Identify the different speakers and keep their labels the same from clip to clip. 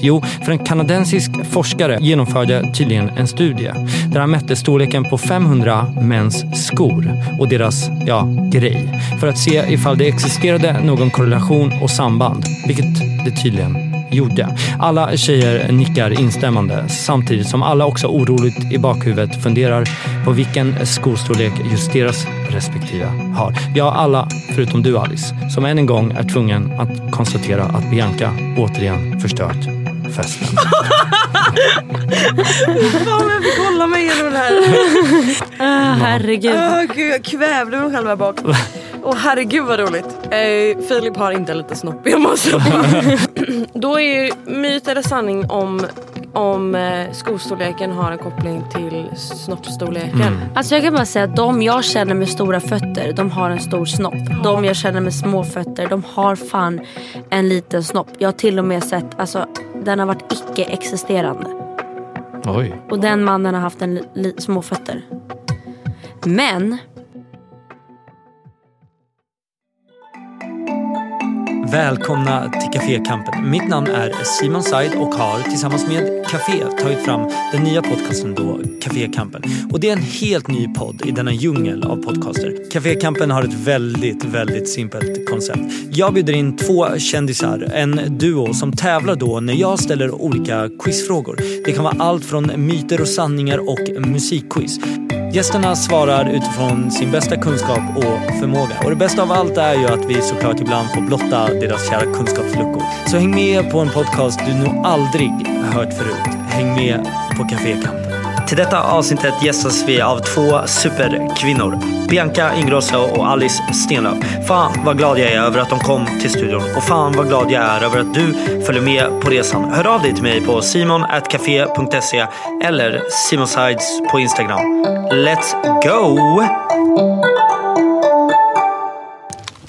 Speaker 1: Jo, för en kanadensisk forskare genomförde tydligen en studie där han mätte storleken på 500 mäns skor och deras, ja, grej. För att se ifall det existerade någon korrelation och samband, vilket det tydligen gjorde. Alla tjejer nickar instämmande samtidigt som alla också oroligt i bakhuvudet funderar på vilken skostorlek just deras respektive har. Ja, alla förutom du Alice, som än en gång är tvungen att konstatera att Bianca återigen förstört festen.
Speaker 2: Fan, jag fick hålla mig igenom det här.
Speaker 3: Ah, herregud.
Speaker 2: Åh gud, jag kvävde mig själv här bak. Åh herregud vad roligt. Eh, Filip har inte en liten snopp i om man så. Då är ju myt eller sanning om, om eh, skostorleken har en koppling till snoppstorleken.
Speaker 1: Mm.
Speaker 3: Alltså jag kan bara säga att de jag känner med stora fötter, de har en stor snopp. De jag känner med små fötter, de har fan en liten snopp. Jag har till och med sett, alltså den har varit icke-existerande.
Speaker 1: Oj.
Speaker 3: Och den mannen har haft en li- li- små fötter. Men,
Speaker 4: Välkomna till Cafékampen. Mitt namn är Simon Said och har tillsammans med Café tagit fram den nya podcasten då, Cafékampen. Och det är en helt ny podd i denna djungel av podcaster. Cafékampen har ett väldigt, väldigt simpelt koncept. Jag bjuder in två kändisar, en duo som tävlar då när jag ställer olika quizfrågor. Det kan vara allt från myter och sanningar och musikquiz. Gästerna svarar utifrån sin bästa kunskap och förmåga. Och det bästa av allt är ju att vi såklart ibland får blotta deras kära kunskapsluckor. Så häng med på en podcast du nog aldrig hört förut. Häng med på Café Kampen. Till detta avsnittet gästas vi av två superkvinnor. Bianca Ingrosso och Alice Stenlöf. Fan vad glad jag är över att de kom till studion. Och fan vad glad jag är över att du följer med på resan. Hör av dig till mig på simon.cafe.se eller simonsides på Instagram. Let's go!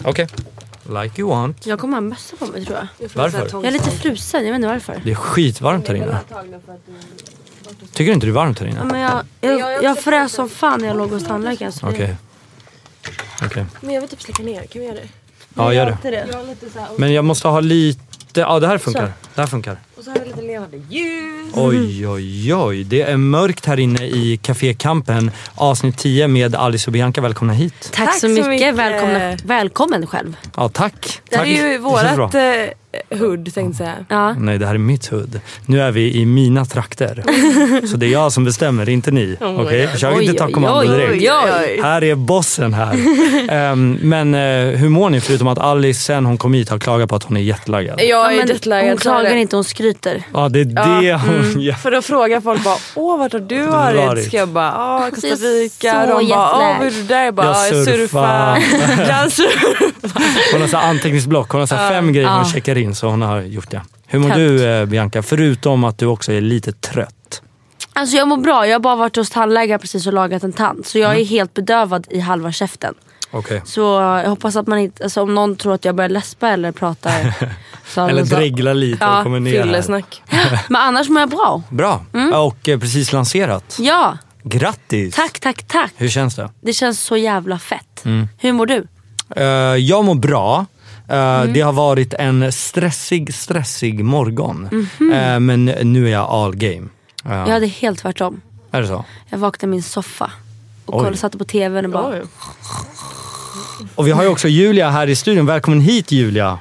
Speaker 1: Okej. Like you want.
Speaker 3: jag kommer ha en mössa på mig tror jag.
Speaker 1: Varför?
Speaker 3: Jag är lite frusen, jag vet inte varför.
Speaker 1: Det är skitvarmt här inne. Tycker du inte det är varmt här
Speaker 3: Ja,
Speaker 1: inne?
Speaker 3: Men jag, jag, jag frös som fan när jag låg hos tandläkaren. så det-
Speaker 1: Okej. Okej.
Speaker 2: Men jag vill typ släcka ner, kan vi göra det?
Speaker 1: Ja, gör det.
Speaker 3: Inte det.
Speaker 1: Men jag måste ha lite... Ja, det här funkar. Det här funkar.
Speaker 2: Och så har vi lite levande ljus.
Speaker 1: Oj, oj, oj. Det är mörkt här inne i Café Kampen. Avsnitt 10 med Alice och Bianca. Välkomna hit.
Speaker 3: Tack, så mycket. Välkomna, välkommen själv.
Speaker 1: Ja, tack.
Speaker 2: Det här
Speaker 1: tack.
Speaker 2: är ju
Speaker 1: Det känns bra.
Speaker 2: vårat eh, hood tänkte jag säga.
Speaker 3: Ja.
Speaker 1: Nej, det här är mitt hud. Nu är vi i mina trakter. Så det är jag som bestämmer, inte ni.
Speaker 2: Oh my
Speaker 1: Okej?
Speaker 2: God.
Speaker 1: Försök inte ta
Speaker 3: Oj,
Speaker 1: kommando
Speaker 3: oj,
Speaker 1: direkt.
Speaker 3: oj, oj.
Speaker 1: Här är bossen här. Ehm, men eh, hur mår ni? Förutom att Alice sen hon kom hit har klagat på att hon är jättelaggad.
Speaker 3: Ja,
Speaker 2: Jag är
Speaker 3: men
Speaker 2: jetlaggad.
Speaker 3: hon
Speaker 2: så är
Speaker 3: klagar
Speaker 2: det.
Speaker 3: inte, hon skryter.
Speaker 1: Ja, det är det hon gör.
Speaker 2: För då frågar folk bara åh vart har du varit?
Speaker 1: varit?
Speaker 2: Ska jag bara ah Costa
Speaker 3: Jag är
Speaker 2: Rica. De
Speaker 3: så
Speaker 2: bara åh
Speaker 3: jetlag.
Speaker 2: vad gjorde du där? Jag bara
Speaker 1: Jag
Speaker 2: "Ah, jag surfar.
Speaker 1: surfar."
Speaker 2: jag surfar.
Speaker 1: Hon har så här anteckningsblock. Hon har så här fem grejer hon checkar in så hon har gjort det. Hur mår
Speaker 3: Tönt.
Speaker 1: du eh, Bianca? Förutom att du också är lite trött.
Speaker 3: Alltså jag mår bra, jag har bara varit hos tandläkaren precis och lagat en tand. Så jag är helt bedövad i halva käften.
Speaker 1: Okej.
Speaker 3: Så jag hoppas att man inte, alltså om någon tror att jag börjar läspa eller prata. så har
Speaker 1: Eller
Speaker 3: de så-
Speaker 1: dregla lite och
Speaker 3: Alltså, Ja,
Speaker 1: kommer ner här.
Speaker 2: Fyllesnack.
Speaker 3: Men annars mår jag bra.
Speaker 1: Bra.
Speaker 3: Mm.
Speaker 1: Ja, Och eh, precis lanserat.
Speaker 3: Ja,
Speaker 1: Grattis!
Speaker 3: tack tack tack.
Speaker 1: Hur känns det?
Speaker 3: Det känns så jävla fett. Hur mår du?
Speaker 1: Eh, jag mår bra. Eh,
Speaker 3: Mm.
Speaker 1: Det har varit en stressig, stressig morgon.
Speaker 3: Mhm.
Speaker 1: Eh, men nu är jag all game. Eh,
Speaker 3: Jag hade helt tvärtom.
Speaker 1: Är det så?
Speaker 3: Jag vaknade i min soffa. Och
Speaker 1: Oj.
Speaker 3: kollade, satte på tvn och bara...
Speaker 1: Och vi har ju också Julia här i studion. Välkommen hit Julia!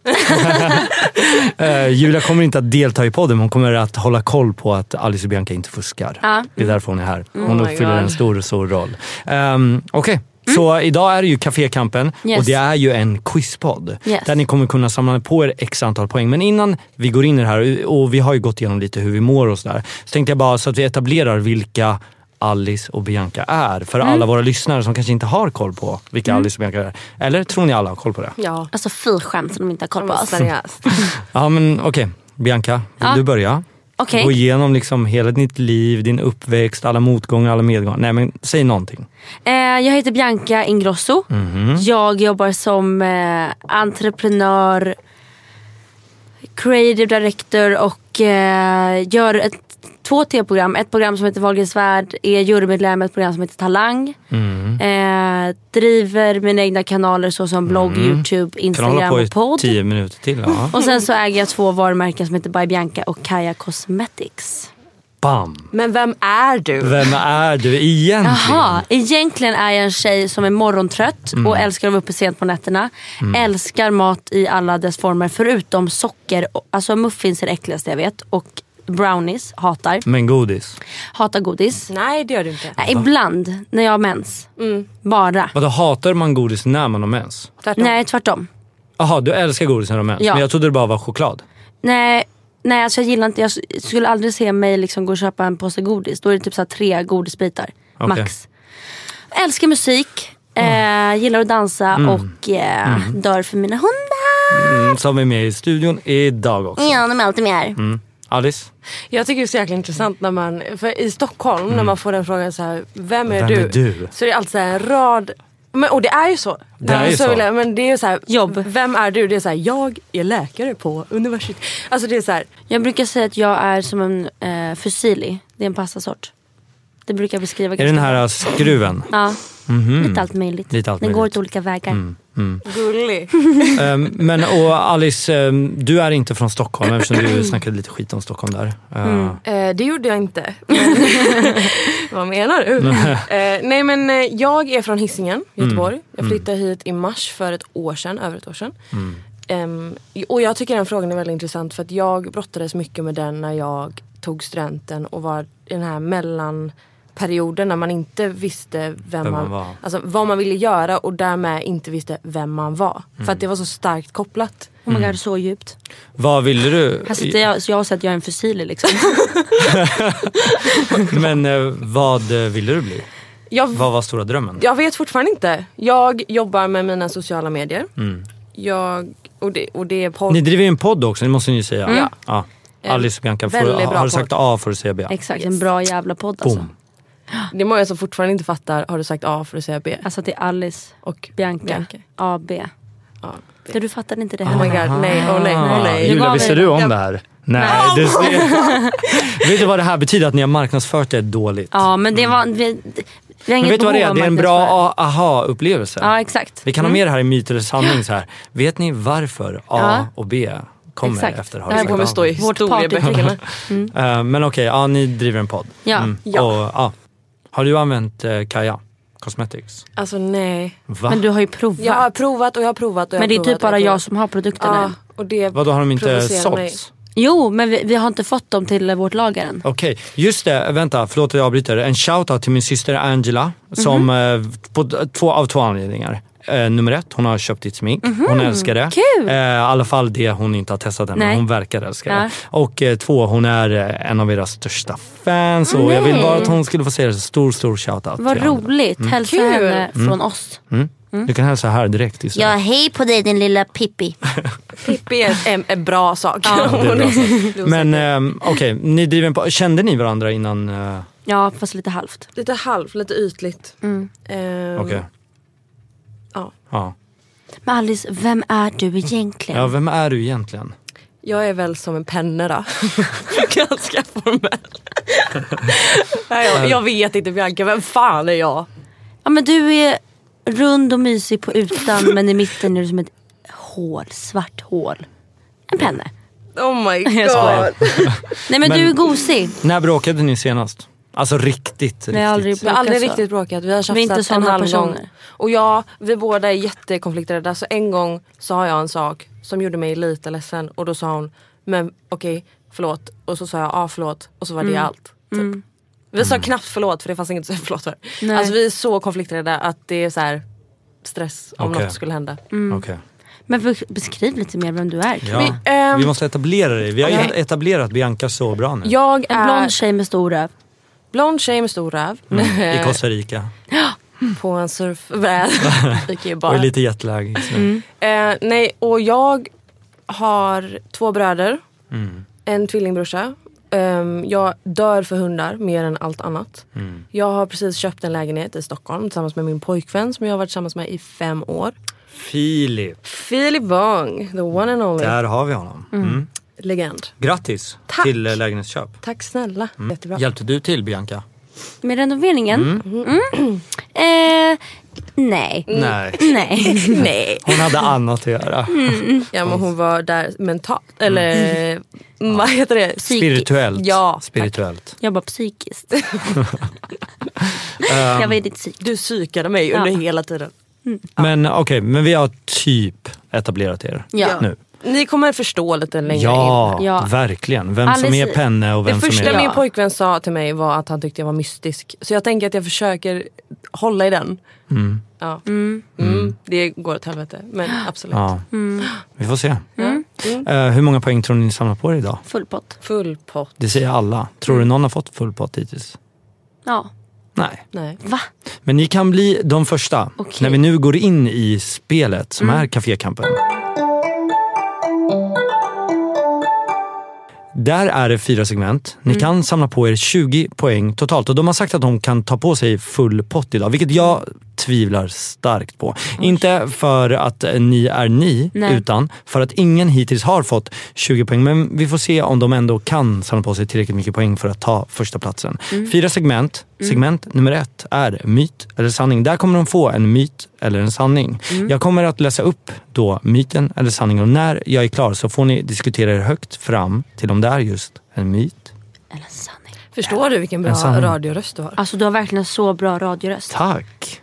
Speaker 1: Tack! Julia kommer inte att delta i podden, men hon kommer att hålla koll på att Alice och Bianca inte fuskar.
Speaker 3: Ja.
Speaker 1: Det är därför hon är här. Hon
Speaker 2: Oh my
Speaker 1: uppfyller
Speaker 2: God.
Speaker 1: en stor, stor roll. Um, Okej, så idag är det ju Cafékampen
Speaker 3: Yes.
Speaker 1: och det är ju en quizpodd.
Speaker 3: Yes.
Speaker 1: Där ni kommer kunna samla på er x antal poäng. Men innan vi går in i det här, och vi har ju gått igenom lite hur vi mår och sådär. Så tänkte jag bara så att vi etablerar vilka Alice och Bianca är. För
Speaker 3: Mm.
Speaker 1: alla våra lyssnare som kanske inte har koll på vilka Alice och Bianca är. Eller tror ni alla har koll på det?
Speaker 2: Ja.
Speaker 3: Alltså fy skämt som de inte har koll på oss.
Speaker 2: Seriöst.
Speaker 1: Ja men okej, Bianca, vill
Speaker 3: Ja.
Speaker 1: du börja?
Speaker 3: Okej.
Speaker 1: Gå igenom liksom hela ditt liv, din uppväxt, alla motgångar, alla medgångar. Nej men säg någonting.
Speaker 3: Eh, jag heter Bianca Ingrosso.
Speaker 1: Mhm.
Speaker 3: Jag jobbar som eh, entreprenör, creative director och eh, gör ett två tv-program. Ett program som heter Wahlgrens värld, är jurymedlem, ett program som heter Talang.
Speaker 1: Mhm.
Speaker 3: Eh, driver mina egna kanaler såsom blogg, youtube,
Speaker 1: Mhm. Kan hålla
Speaker 3: instagram
Speaker 1: på
Speaker 3: och
Speaker 1: i
Speaker 3: podd.
Speaker 1: tio minuter till. Ja.
Speaker 3: Och sen så äger jag två varumärken som heter By Bianca och Kaja Cosmetics.
Speaker 1: Bam!
Speaker 2: Men vem är du?
Speaker 1: Vem är du egentligen?
Speaker 3: Jaha, egentligen är jag en tjej som är morgontrött och älskar att vara uppe sent på nätterna. Älskar mat i alla dess former förutom socker. och- Alltså muffins är det äckligaste jag vet och brownies hatar.
Speaker 1: Men godis.
Speaker 3: Hatar godis.
Speaker 2: Nej det gör du inte.
Speaker 3: Nej, ibland när jag har mens. Bara.
Speaker 1: Vadå, hatar man godis när man har mens?
Speaker 2: Tvärtom.
Speaker 3: Nej, tvärtom.
Speaker 1: Jaha, du älskar godis när du har mens.
Speaker 3: Ja.
Speaker 1: Men jag trodde det bara var choklad.
Speaker 3: Nej, nej alltså jag gillar inte, jag s- skulle aldrig se mig liksom gå och köpa en påse godis. Då är det typ så här tre godisbitar,
Speaker 1: Okej.
Speaker 3: max. Älskar musik, eh, gillar att dansa och eh, dör för mina hundar.
Speaker 1: Mm, som är med i studion idag också.
Speaker 3: Ja, de är alltid med här.
Speaker 1: Mm. Alice?
Speaker 2: Jag tycker det är så jäkla intressant när man, för i Stockholm när man får den frågan så här, vem är,
Speaker 1: Mm. Vem
Speaker 2: du?
Speaker 1: är du?
Speaker 2: Så det är alltid så här en rad, men, och det är ju så.
Speaker 1: Det är ju så.
Speaker 2: vill jag- Men det är så här,
Speaker 3: Jobb.
Speaker 2: vem är du? Det är så här, jag är läkare på universitet. Alltså det är så här,
Speaker 3: Jag brukar säga att jag är som en eh, fusilli, det är en pastasort. Det brukar jag beskriva
Speaker 1: Är det den här äh, skruven?
Speaker 3: Ja, lite allt möjligt.
Speaker 1: Lite allt
Speaker 3: den går
Speaker 1: möjligt. Mm.
Speaker 3: åt olika vägar.
Speaker 2: gullig.
Speaker 1: Ehm, men och Alice, ehm, du är inte från Stockholm eftersom du snackade lite skit om Stockholm där. Ehm,
Speaker 2: Eh, det gjorde jag inte. Vad menar du? eh, nej men eh, jag är från Hisingen,
Speaker 1: Mm.
Speaker 2: Göteborg. Jag flyttade hit i mars för ett år sedan, över ett år sedan.
Speaker 1: Mm.
Speaker 2: Ehm, och jag tycker den frågan är väldigt intressant för att jag brottades mycket med den när jag tog studenten och var i den här mellanperioden när man inte visste vem,
Speaker 1: Vem
Speaker 2: man,
Speaker 1: man var.
Speaker 2: Alltså vad man ville göra och därmed inte visste vem man var.
Speaker 1: Mm.
Speaker 2: För att det var så starkt kopplat.
Speaker 3: Oh my god, så djupt.
Speaker 1: Vad ville du?
Speaker 3: Här sitter jag, så jag har sett att jag är en fusilli liksom.
Speaker 1: Men eh, vad eh, ville du bli?
Speaker 2: Jag
Speaker 1: Vad var stora drömmen?
Speaker 2: Jag vet fortfarande inte. Jag jobbar med mina sociala medier. Jag, och, det, och det är podd.
Speaker 1: Mm. Ni driver ju en podd också, det måste ni ju säga. Ja. Alice och Bianca,
Speaker 2: Väldigt
Speaker 1: får,
Speaker 2: bra
Speaker 1: har du sagt A får du säga B.
Speaker 3: Exakt, en bra jävla podd alltså.
Speaker 1: Boom.
Speaker 2: Det är många som fortfarande inte fattar. Har du sagt A för att säga B?
Speaker 3: Alltså till Alice.
Speaker 2: Och
Speaker 3: Bianca,
Speaker 2: Bianca.
Speaker 3: AB.
Speaker 2: A.
Speaker 3: Så du fattade inte det
Speaker 2: Oh my
Speaker 3: heller?
Speaker 2: god, nej,
Speaker 3: Ah.
Speaker 2: oh nej,
Speaker 1: Ah,
Speaker 2: oh
Speaker 3: Du
Speaker 2: nej.
Speaker 3: Julia, gav visste mig- du
Speaker 1: om det här? Nej, du ser. Vet du vad det här betyder? Att ni har marknadsfört det dåligt.
Speaker 3: ja men det var... Vi, vi har
Speaker 1: Mm. Men
Speaker 3: inget
Speaker 1: vet du vad det
Speaker 3: behov
Speaker 1: är?
Speaker 3: av
Speaker 1: Det är en bra
Speaker 3: marknadsföring.
Speaker 1: a- aha-upplevelse.
Speaker 3: Ja exakt.
Speaker 1: Vi kan ha med det här i myt eller sanning. Så här. Vet ni varför A
Speaker 3: Ja.
Speaker 1: och B kommer
Speaker 3: Exakt.
Speaker 1: efter
Speaker 2: Det här
Speaker 1: sagt
Speaker 2: kommer
Speaker 1: A?
Speaker 2: stå i
Speaker 3: Vårt
Speaker 2: historieböckerna.
Speaker 1: Eh, Men okej, ja, ni driver en podd. Mm.
Speaker 3: Ja.
Speaker 2: Ja.
Speaker 1: Och, ja. Har du använt eh, Kaja Cosmetics?
Speaker 2: Alltså nej.
Speaker 1: Va?
Speaker 3: Men du har ju provat.
Speaker 2: Jag har provat och jag har provat och jag
Speaker 3: men det är
Speaker 2: har
Speaker 3: typ
Speaker 2: provat
Speaker 3: bara
Speaker 2: och
Speaker 3: jag
Speaker 2: provat.
Speaker 3: som har produkterna. än.
Speaker 2: Ja, och det
Speaker 1: Vadå, har de inte
Speaker 2: provocerar mig.
Speaker 1: sålts?
Speaker 3: Jo men vi, vi har inte fått dem till eh, vårt lager än.
Speaker 1: Okej, just det. Vänta, förlåt att jag avbryter. En shoutout till min syster Angela som
Speaker 3: Mhm.
Speaker 1: eh, på t- två, av två anledningar. Eh, nummer ett, hon har köpt ditt smink. Hon älskar det.
Speaker 3: Mhm. kul!
Speaker 1: Eh, I alla fall det hon inte har testat än, men
Speaker 3: Nej.
Speaker 1: hon verkar älska
Speaker 3: Ja.
Speaker 1: det. Och eh, två, hon är eh, en av era största fans. Och jag vill bara att hon skulle få säga det. Så Stor, stor shoutout
Speaker 3: Vad
Speaker 1: till Angela.
Speaker 3: roligt. Mm. Hälsa
Speaker 2: Kul.
Speaker 3: henne från
Speaker 1: Mm.
Speaker 3: oss.
Speaker 1: Du kan hälsa här direkt istället.
Speaker 3: hej på dig din lilla Pippi.
Speaker 2: Pippi är ett- en, en bra sak.
Speaker 1: det är bra
Speaker 2: sagt.
Speaker 1: Men ehm, okej, ni driver en po- Kände ni varandra innan? Eh,
Speaker 3: Ja fast lite halvt.
Speaker 2: Lite halvt, lite ytligt.
Speaker 3: Mm.
Speaker 2: Ehm,
Speaker 1: okej.
Speaker 2: ja.
Speaker 1: ja.
Speaker 3: Men Alice, vem är du egentligen?
Speaker 1: Ja, vem är du egentligen?
Speaker 2: Jag är väl som en penne då. Ganska formell. Nej, jag, jag vet inte Bianca, vem fan är jag?
Speaker 3: Ja men du är rund och mysig på utan men i mitten är du som ett hål, svart hål. En penne.
Speaker 2: Oh my
Speaker 3: Jag skojar.
Speaker 2: god.
Speaker 3: Nej men,
Speaker 1: Men-
Speaker 3: du är gosig.
Speaker 1: När bråkade ni senast? Alltså riktigt, riktigt.
Speaker 3: Vi har aldrig
Speaker 2: Vi har aldrig
Speaker 3: bråkat så.
Speaker 2: riktigt bråkat, vi har
Speaker 3: Vi är inte
Speaker 2: tjafsat en
Speaker 3: såna
Speaker 2: halv gång.
Speaker 3: personer.
Speaker 2: Och jag, vi båda är jättekonflikträdda så en gång sa jag en sak som gjorde mig lite ledsen och då sa hon men okej förlåt och så sa jag ja förlåt och så var det
Speaker 3: Mm.
Speaker 2: allt. Typ. Vi sa knappt förlåt för det fanns inget att säga förlåt för.
Speaker 3: Nej.
Speaker 2: Alltså vi är så konflikträdda att det är så här stress om
Speaker 1: Okej.
Speaker 2: något skulle hända.
Speaker 1: Okej.
Speaker 3: Men be- beskriv lite mer vem du är.
Speaker 1: Ja.
Speaker 2: Mm. Vi,
Speaker 1: Vi,
Speaker 2: ehm,
Speaker 1: måste etablera dig. Vi har
Speaker 2: Okej.
Speaker 1: etablerat Bianca så bra nu.
Speaker 2: Jag
Speaker 3: En
Speaker 2: är
Speaker 3: blond tjej med stor röv.
Speaker 2: blond tjej med stor röv
Speaker 1: Mm.
Speaker 2: Eh,
Speaker 1: I Costa Rica.
Speaker 2: på en surfbräda.
Speaker 1: Och
Speaker 2: bara.
Speaker 1: är lite jetlag Mm. just nu.
Speaker 2: Eh, nej, och jag har två bröder,
Speaker 1: Mm.
Speaker 2: en tvillingbrorsa. Ehm, jag dör för hundar mer än allt annat.
Speaker 1: Mm.
Speaker 2: Jag har precis köpt en lägenhet i Stockholm tillsammans med min pojkvän som jag har varit tillsammans med i fem år.
Speaker 1: Filip.
Speaker 2: Philip Wong, the one and only.
Speaker 1: Där har vi honom. Mm.
Speaker 2: legend.
Speaker 1: Grattis
Speaker 2: Tack.
Speaker 1: till eh, lägenhetsköp.
Speaker 2: Tack snälla.
Speaker 1: Mm.
Speaker 2: Jättebra.
Speaker 1: Hjälpte du till Bianca?
Speaker 3: Med renoveringen? Mm. Eh, nej.
Speaker 1: Nej.
Speaker 3: Nej.
Speaker 2: Nej.
Speaker 1: Hon hade annat att göra.
Speaker 2: Mm. Ja men hon var där mentalt,
Speaker 1: Mm.
Speaker 2: eller eh, vad heter det?
Speaker 1: Spirituellt.
Speaker 2: Ja, tack.
Speaker 1: Spirituellt.
Speaker 3: Jag bara psykiskt. jag
Speaker 1: Ehm.
Speaker 3: var i ditt psyk.
Speaker 2: Du psykade mig under
Speaker 3: Ja.
Speaker 2: hela tiden.
Speaker 1: Men okej, men vi har typ etablerat er
Speaker 3: Ja.
Speaker 1: nu.
Speaker 2: Ni kommer förstå lite längre in.
Speaker 1: Ja,
Speaker 3: Ja.
Speaker 1: verkligen. Vem som
Speaker 3: Alice-
Speaker 1: är penne och vem
Speaker 2: Det
Speaker 1: som
Speaker 2: första
Speaker 1: är...
Speaker 3: Ja.
Speaker 2: min pojkvän sa till mig var att han tyckte jag var mystisk. Så jag tänker att jag försöker hålla i den. Ja. Mm. Det går åt helvete, men absolut.
Speaker 1: Ja.
Speaker 2: Mm.
Speaker 1: Vi får se. Eh, hur många poäng tror ni ni samlar på er idag?
Speaker 3: Full pott.
Speaker 2: Full pott.
Speaker 1: Det säger alla. Tror
Speaker 3: Mm.
Speaker 1: du någon har fått full pott hittills?
Speaker 3: Ja.
Speaker 1: Nej.
Speaker 2: Nej.
Speaker 3: Va?
Speaker 1: Men ni kan bli de första
Speaker 3: Okej. Mm.
Speaker 1: när vi nu går in i spelet som är Cafékampen. Där är det fyra segment.
Speaker 3: Mm.
Speaker 1: Ni kan samla på er 20 poäng totalt och de har sagt att de kan ta på sig full pott idag, vilket jag tvivlar starkt på. Inte för att eh, ni är ni,
Speaker 3: Nej.
Speaker 1: utan för att ingen hittills har fått 20 poäng. Men vi får se om de ändå kan samla på sig tillräckligt mycket poäng för att ta första platsen.
Speaker 3: Mm.
Speaker 1: Fyra segment. Segment nummer ett är myt eller sanning. Där kommer de få en myt eller en sanning.
Speaker 3: Mm.
Speaker 1: Jag kommer att läsa upp då myten eller sanningen och när jag är klar så får ni diskutera er högt fram till om det är just en myt.
Speaker 3: Eller sanning.
Speaker 2: Förstår du vilken bra
Speaker 1: En sanning.
Speaker 2: radioröst du har?
Speaker 3: Alltså du har verkligen så bra radioröst.
Speaker 1: Tack!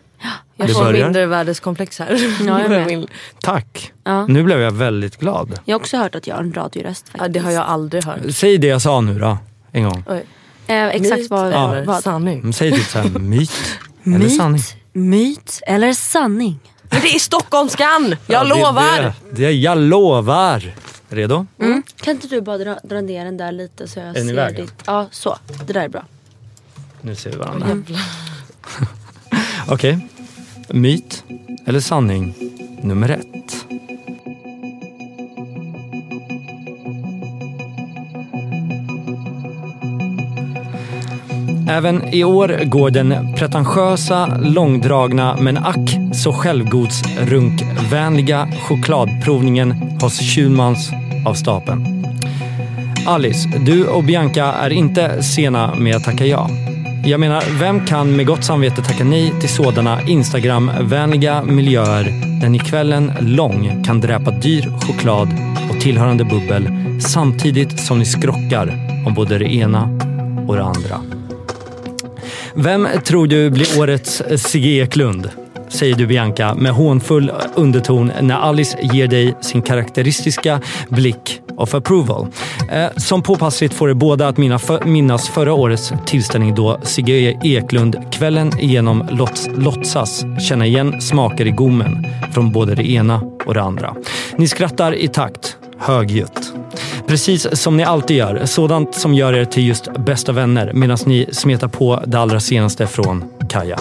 Speaker 2: Jag
Speaker 1: Det
Speaker 2: får
Speaker 1: börjar.
Speaker 2: mindre världskomplex här.
Speaker 3: Ja, jag med.
Speaker 2: Min-
Speaker 1: Tack!
Speaker 3: Ja.
Speaker 1: Nu blev jag väldigt glad.
Speaker 3: Jag har också hört att jag har en radioröst faktiskt.
Speaker 2: ja, det har jag aldrig hört.
Speaker 1: Säg det jag sa nu då, en gång.
Speaker 2: Oj.
Speaker 3: Eh, exakt
Speaker 2: Myt
Speaker 3: vad...
Speaker 2: eller
Speaker 3: vad?
Speaker 2: sanning.
Speaker 1: Säg typ såhär myt eller sanning.
Speaker 3: Myt, myt eller sanning?
Speaker 2: Men det är stockholmskan! Jag
Speaker 1: Ja, det-
Speaker 2: lovar!
Speaker 1: Det, det, jag lovar! Redo?
Speaker 3: Mm. Kan inte du bara dra, dra ner den där lite så jag
Speaker 1: ni i
Speaker 3: ser
Speaker 1: vägen?
Speaker 3: ditt... Ja, så. Det där är bra.
Speaker 1: Nu ser vi varandra. Okej. Myt eller sanning nummer ett. Även i år går den pretentiösa, långdragna men ack så självgodsrunkvänliga chokladprovningen hos Schulmans av stapeln. Alice, du och Bianca är inte sena med att tacka ja. Jag menar, vem kan med gott samvete tacka nej till sådana Instagram-vänliga miljöer där ni kvällen lång kan dräpa dyr choklad och tillhörande bubbel samtidigt som ni skrockar om både det ena och det andra. Vem tror du blir årets Sigge Eklund? Säger du Bianca med hånfull underton när Alice ger dig sin karaktäristiska blick of approval. Eh, som påpassligt får er båda att mina- för- minnas förra årets tillställning då Sigge Eklund kvällen igenom låts, låtsas känna igen smaker i gommen från både det ena och det andra. Ni skrattar i takt, högljutt. Precis som ni alltid gör. Sådant som gör er till just bästa vänner medan ni smetar på det allra senaste från Kaja.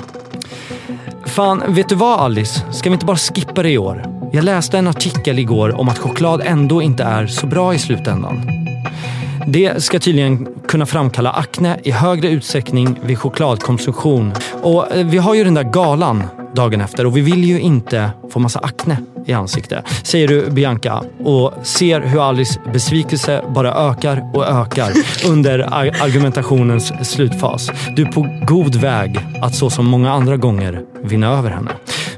Speaker 1: Fan, vet du vad Alice? Ska vi inte bara skippa det i år? Jag läste en artikel igår om att choklad ändå inte är så bra i slutändan. Det ska tydligen kunna framkalla akne i högre utsträckning vid chokladkonsumtion. Och eh, vi har ju den där galan dagen efter och vi vill ju inte få massa akne i ansiktet. Säger du Bianca och ser hur Alice besvikelse bara ökar och ökar under ar- argumentationens slutfas. Du är på god väg att så som många andra gånger vinna över henne.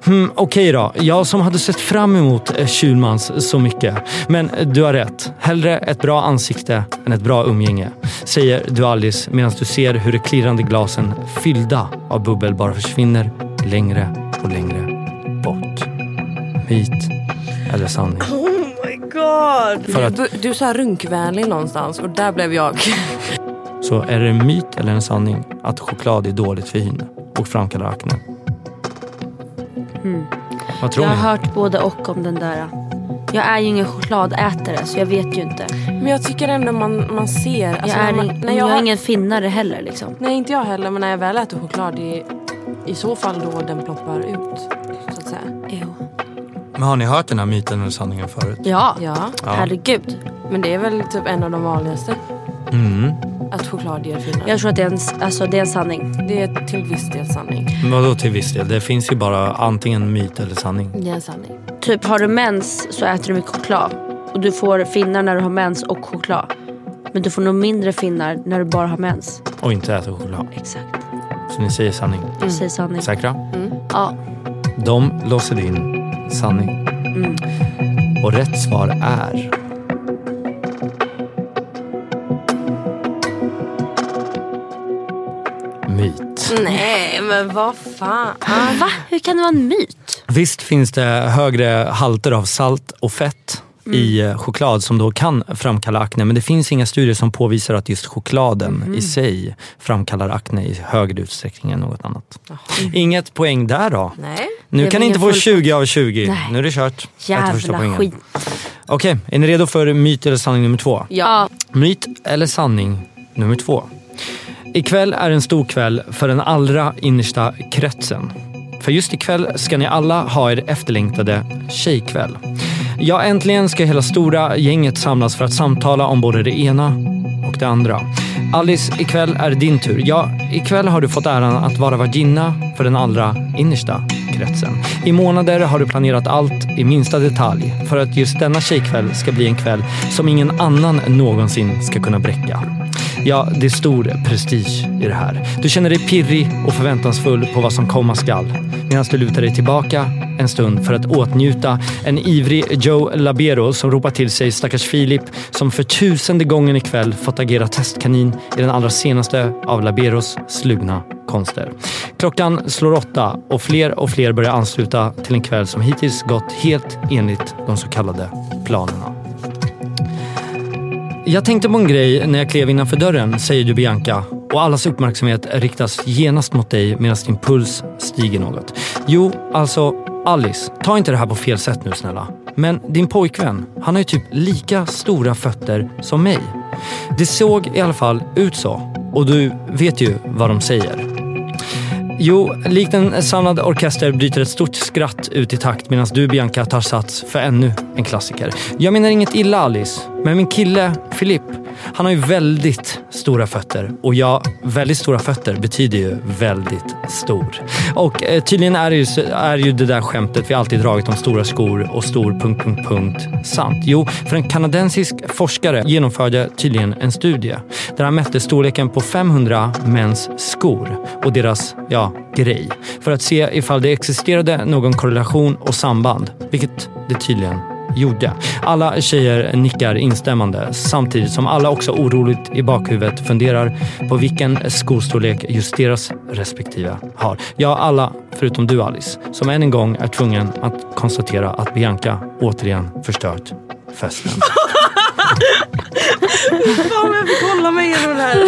Speaker 1: Hmm, Okej då, jag som hade sett fram emot eh, Schulmans så mycket. Men eh, du har rätt. Hellre ett bra ansikte än ett bra umgänge. Säger du Alice medan du ser hur de klirrande glasen fyllda av bubbel bara försvinner längre och längre bort. Myt eller sanning?
Speaker 2: Oh my god!
Speaker 1: För att-
Speaker 2: Du, du sa runkvänlig någonstans och där blev jag.
Speaker 1: Så är det en myt eller en sanning att choklad är dåligt för hyn och framkallar akne? Vad tror
Speaker 3: Hmm. Jag
Speaker 1: ni?
Speaker 3: har hört både och om den där. Jag är ju ingen chokladätare så jag vet ju inte.
Speaker 2: Men jag tycker ändå man, man ser.
Speaker 3: Jag,
Speaker 2: Alltså
Speaker 3: är,
Speaker 2: när man,
Speaker 3: ing-
Speaker 2: när
Speaker 3: jag
Speaker 2: jag,
Speaker 3: är ingen finnare heller liksom.
Speaker 2: Nej inte jag heller men när jag väl äter choklad i, i så fall då den ploppar ut. Så att säga.
Speaker 3: Jo.
Speaker 1: Men har ni hört den här myten eller sanningen förut?
Speaker 3: Ja.
Speaker 2: Ja,
Speaker 3: herregud.
Speaker 2: men det är väl typ en av de vanligaste.
Speaker 1: Mm.
Speaker 2: Att choklad ger finare.
Speaker 3: Jag tror att det är en, s- alltså, det är en sanning.
Speaker 2: Det är till viss del sanning.
Speaker 1: Vadå till viss del? Det finns ju bara antingen myt eller sanning.
Speaker 2: Det är en sanning.
Speaker 3: Typ har du mens så äter du mycket choklad. Och du får finnar när du har mens och choklad. Men du får nog mindre finnar när du bara har mens.
Speaker 1: Och inte äta choklad.
Speaker 3: Exakt.
Speaker 1: Så ni säger sanning.
Speaker 3: Jag säger sanning.
Speaker 1: Säkra?
Speaker 3: Ja.
Speaker 1: De låser in sanning. Och rätt svar är... Myt.
Speaker 2: Nej men vad fan.
Speaker 3: Ah, Va? Hur kan det vara en myt?
Speaker 1: Visst finns det högre halter av salt och fett
Speaker 3: Mm.
Speaker 1: i eh, choklad som då kan framkalla akne. Men det finns inga studier som påvisar att just chokladen
Speaker 3: Mm.
Speaker 1: i sig framkallar akne i högre utsträckning än något annat. Inget poäng där då.
Speaker 2: Nej.
Speaker 1: Nu
Speaker 3: Mm. Det
Speaker 1: kan
Speaker 3: var
Speaker 1: ni inte få
Speaker 3: ingen full-
Speaker 1: 20 av 20.
Speaker 3: Nej.
Speaker 1: Nu är det kört. Jag tar första
Speaker 3: Jävla
Speaker 1: poängen.
Speaker 3: skit.
Speaker 1: Okej, är ni redo för myt eller sanning nummer två?
Speaker 3: Ja.
Speaker 1: Myt eller sanning nummer två. Ikväll är en stor kväll för den allra innersta kretsen. För just ikväll ska ni alla ha er efterlängtade tjejkväll. Ja, äntligen ska hela stora gänget samlas för att samtala om både det ena och det andra. Alice, ikväll är det din tur. Ja, ikväll har du fått äran att vara vagina för den allra innersta kretsen. I månader har du planerat allt i minsta detalj för att just denna tjejkväll ska bli en kväll som ingen annan någonsin ska kunna bräcka. Ja, det är stor prestige i det här. Du känner dig pirrig och förväntansfull på vad som komma skall. Medan du lutar dig tillbaka en stund för att åtnjuta en ivrig Joe Labero som ropar till sig stackars Filip som för tusende gången ikväll fått agera testkanin i den allra senaste av Laberos slugna konster. Klockan slår åtta och fler och fler börjar ansluta till en kväll som hittills gått helt enligt de så kallade planerna. Jag tänkte på en grej när jag klev innanför dörren, säger du Bianca. Och allas uppmärksamhet riktas genast mot dig medan din puls stiger något. Jo, alltså Alice, ta inte det här på fel sätt nu snälla. Men din pojkvän, han har ju typ lika stora fötter som mig. Det såg i alla fall ut så. Och du vet ju vad de säger. Jo, likt en samlad orkester bryter ett stort skratt ut i takt medan du Bianca tar sats för ännu en klassiker. Jag menar inget illa Alice, men min kille Filipp, han har ju väldigt stora fötter. Och ja, väldigt stora fötter betyder ju väldigt stor. Och eh, tydligen är det, ju, så- är ju det där skämtet vi alltid dragit om stora skor och stor punkt, punkt, punkt sant. Jo, för en kanadensisk forskare genomförde tydligen en studie där han mätte storleken på 500 mäns skor och deras, ja, grej. För att se ifall det existerade någon korrelation och samband, vilket det tydligen gjorde. Alla tjejer nickar instämmande samtidigt som alla också oroligt i bakhuvudet funderar på vilken skostorlek just deras respektive har. Ja, alla förutom du Alice, som än en gång är tvungen att konstatera att Bianca återigen förstört festen.
Speaker 2: Fan jag fick hålla mig igenom det här.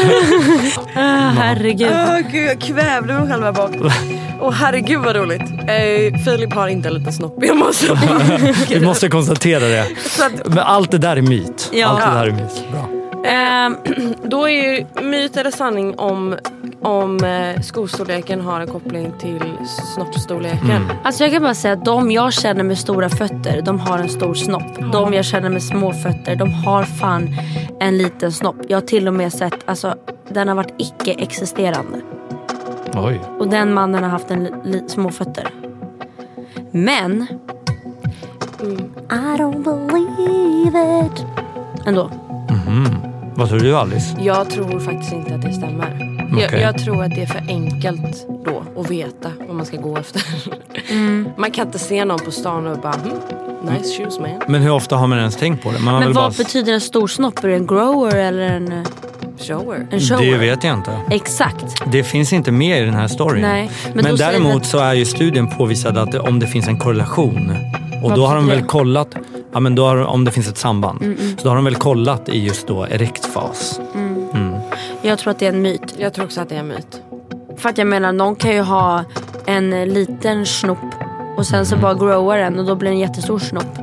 Speaker 3: Ah, herregud.
Speaker 2: Åh gud jag kvävde mig själv här bak. Åh herregud vad roligt. Eh, Filip har inte en liten snopp i
Speaker 1: Vi måste konstatera det.
Speaker 2: Så att
Speaker 1: Men allt det där är myt.
Speaker 3: Ja.
Speaker 1: Allt det där är myt. Bra.
Speaker 3: Ehm,
Speaker 2: Då är ju myt eller sanning om, om eh, skostorleken har en koppling till snoppstorleken.
Speaker 3: Alltså jag kan bara säga att de jag känner med stora fötter, de har en stor snopp. De jag känner med små fötter, de har fan en liten snopp. Jag har till och med sett, alltså den har varit icke-existerande.
Speaker 1: Oj.
Speaker 3: Och den mannen har haft en li- li- små fötter. Men... Mm. I don't believe it. Ändå.
Speaker 1: Vad tror du Alice?
Speaker 2: Jag tror faktiskt inte att det stämmer. Jag,
Speaker 1: Okej.
Speaker 2: jag tror att det är för enkelt då att veta vad man ska gå efter. Man kan inte se någon på stan och bara "Hmm, nice shoes man.
Speaker 1: Men hur ofta har man ens tänkt på det? Man har
Speaker 3: Men
Speaker 1: väl
Speaker 3: vad
Speaker 1: bara...
Speaker 3: betyder en stor snopp? Är det en grower eller en,
Speaker 2: Shower.
Speaker 3: en shower?
Speaker 1: Det vet jag inte.
Speaker 3: Exakt.
Speaker 1: Det finns inte med i den här storyn.
Speaker 3: Nej,
Speaker 1: men
Speaker 3: men då säger
Speaker 1: däremot
Speaker 3: det-
Speaker 1: så är ju studien påvisad att det- om det finns en korrelation och
Speaker 3: Vad
Speaker 1: då har de väl
Speaker 3: betyder det? Mm,
Speaker 1: kollat ja, men då har, de- om det finns ett samband. Så då har de väl kollat i just då erekt fas.
Speaker 3: Jag tror att det är en myt.
Speaker 2: Jag tror också att det är en myt.
Speaker 3: För att jag menar, någon kan ju ha en eh, liten snopp och sen så bara growar den och då blir det en jättestor snopp.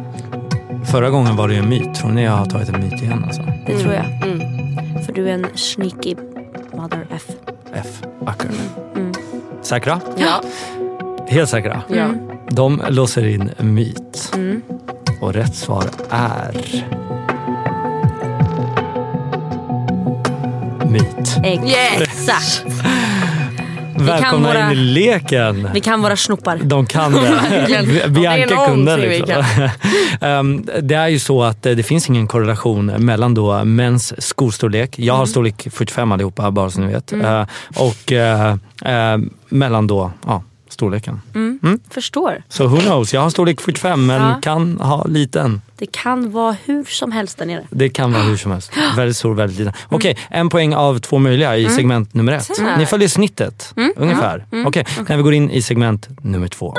Speaker 1: Förra gången var det ju en myt. Tror ni jag har tagit en myt igen alltså?
Speaker 3: Det tror jag.
Speaker 2: Mm.
Speaker 3: För du är en sneaky mother F.
Speaker 1: F. Acker.
Speaker 3: Mm.
Speaker 1: Säkra?
Speaker 2: Ja. Mm.
Speaker 1: Helt säkra?
Speaker 2: ja.
Speaker 1: De låser in myt. Och rätt svar är... Myt.
Speaker 3: Exakt.
Speaker 1: Välkomna
Speaker 3: våra-
Speaker 1: in i leken!
Speaker 3: Vi kan våra snoppar.
Speaker 1: De kan det.
Speaker 2: Verkligen.
Speaker 1: Vi-
Speaker 2: Om det är
Speaker 1: Bianca
Speaker 2: någonting
Speaker 1: kunde
Speaker 2: vi
Speaker 1: liksom. Ehm, Det är ju så att eh, det finns ingen korrelation mellan då mäns skostorlek, jag har storlek 45 allihopa bara så ni vet, eh, och eh, eh, mellan då ja, storleken.
Speaker 3: Förstår.
Speaker 1: Så who knows, jag har storlek 45 men
Speaker 3: Ja.
Speaker 1: kan ha liten.
Speaker 3: Det kan vara hur som helst där nere.
Speaker 1: Det kan vara hur som helst. Väldigt stor, väldigt liten. Okej, en poäng av två möjliga i segment nummer ett.
Speaker 3: Så här.
Speaker 1: Ni följer snittet, ungefär. Okej, när vi går in i segment nummer två.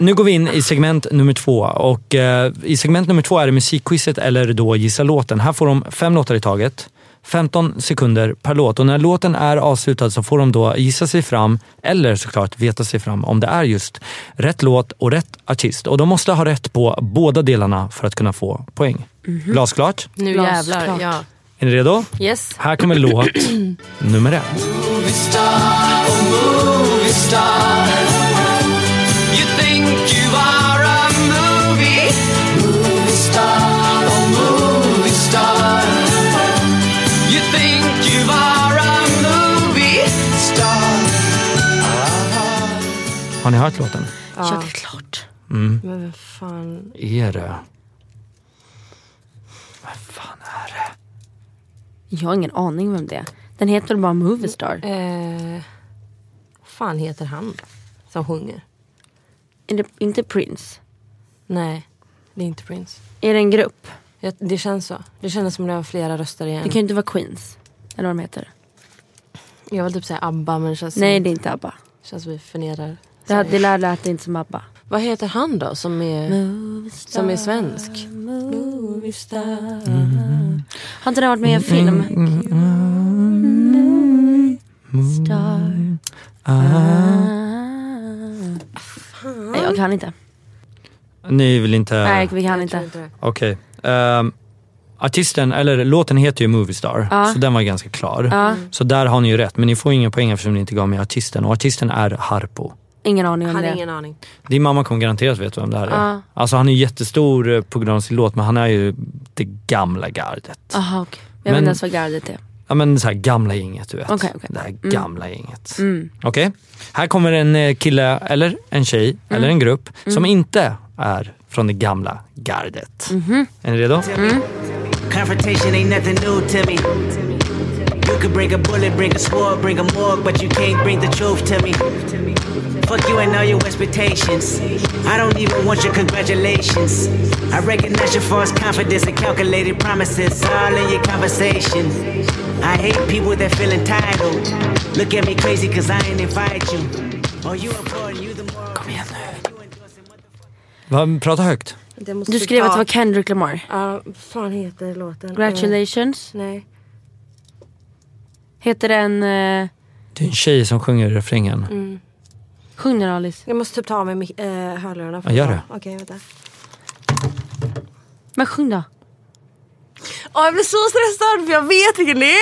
Speaker 1: Nu går vi in i segment nummer två och eh, i segment nummer två är det musikquizet eller då gissa låten. Här får de fem låtar i taget. 15 sekunder per låt och när låten är avslutad så får de då gissa sig fram eller såklart veta sig fram om det är just rätt låt och rätt artist. Och de måste ha rätt på båda delarna för att kunna få poäng. Glasklart?
Speaker 2: Nu
Speaker 3: Glasklart.
Speaker 2: jävlar. Ja.
Speaker 1: Är ni redo?
Speaker 2: Yes.
Speaker 1: Här kommer låt nummer ett.
Speaker 5: You think you are a movie, movie star, oh movie star. You think you are a movie star.
Speaker 1: Har ni hört låten?
Speaker 3: Ja, det är klart.
Speaker 2: Men vad fan.
Speaker 1: Är det? Vad fan är det?
Speaker 3: Jag har ingen aning vem det är. Den heter väl bara Movie Star?
Speaker 2: Eh, vad fan heter han som sjunger?
Speaker 3: Är det inte Prince?
Speaker 2: Nej, det är inte Prince.
Speaker 3: Är det en grupp?
Speaker 2: Jag, det känns så. Det kändes som det var flera röster igen.
Speaker 3: Det kan ju inte vara Queens. Eller vad de heter.
Speaker 2: Jag vill typ säga ABBA men det känns,
Speaker 3: Nej, det är inte ABBA.
Speaker 2: känns som vi förnedrar.
Speaker 3: Det, hade- det lär lät inte som ABBA.
Speaker 2: Vad heter han då som är, som är svensk?
Speaker 3: Har inte den varit med i en film? Star. Nej, jag kan inte.
Speaker 1: Ni vill inte...
Speaker 3: Nej, vi kan
Speaker 2: Jag tror inte
Speaker 3: inte.
Speaker 2: det.
Speaker 1: Okej. Ehm, artisten, eller låten heter ju Movie Star, så den var ganska klar. Så där har ni ju rätt, men ni får ingen poäng eftersom ni inte gav mig artisten. Och artisten är Harpo.
Speaker 3: Ingen aning om
Speaker 2: Hade
Speaker 3: det.
Speaker 2: ingen aning.
Speaker 1: Din mamma kommer garanterat veta vem det här är. Alltså han är ju jättestor eh, på grund av sin låt, men han är ju det gamla gardet.
Speaker 3: Jaha, okej.
Speaker 1: Men-
Speaker 3: Jag vet inte ens vad gardet är.
Speaker 1: Ja men så här gamla gänget du vet.
Speaker 3: Okej, okej.
Speaker 1: Det här gamla gänget. Okej, här kommer en eh, kille, eller en tjej, eller en grupp som inte är från det gamla gardet. Är ni redo?
Speaker 6: Confrontation ain't nothing new to me. You could bring a bullet, bring a sword, bring a morgue, but you can't bring the truth to me. Fuck you and all your expectations. I don't even want your congratulations. I recognize your false confidence and calculated promises all in your conversation. I hate people that feel entitled. Look at me crazy cause I ain't invite you. Oh, you important, you the moral.
Speaker 1: Va, prata högt.
Speaker 2: Det måste
Speaker 3: Du
Speaker 2: vi
Speaker 3: skrev
Speaker 2: ta.
Speaker 3: att det var Kendrick Lamar.
Speaker 2: Ja, vad fan heter låten? Eh,
Speaker 3: Congratulations.
Speaker 2: nej.
Speaker 3: Heter den... Uh,
Speaker 1: Det är en tjej som sjunger refrängen.
Speaker 3: sjung den Alice.
Speaker 2: Jag måste typ ta av mig mi- eh, hörlurarna. för
Speaker 1: Ja, gör
Speaker 2: att-
Speaker 1: det.
Speaker 2: Okej, vänta.
Speaker 3: Men sjung då.
Speaker 2: Åh, jag blir så stressad för jag vet vilken det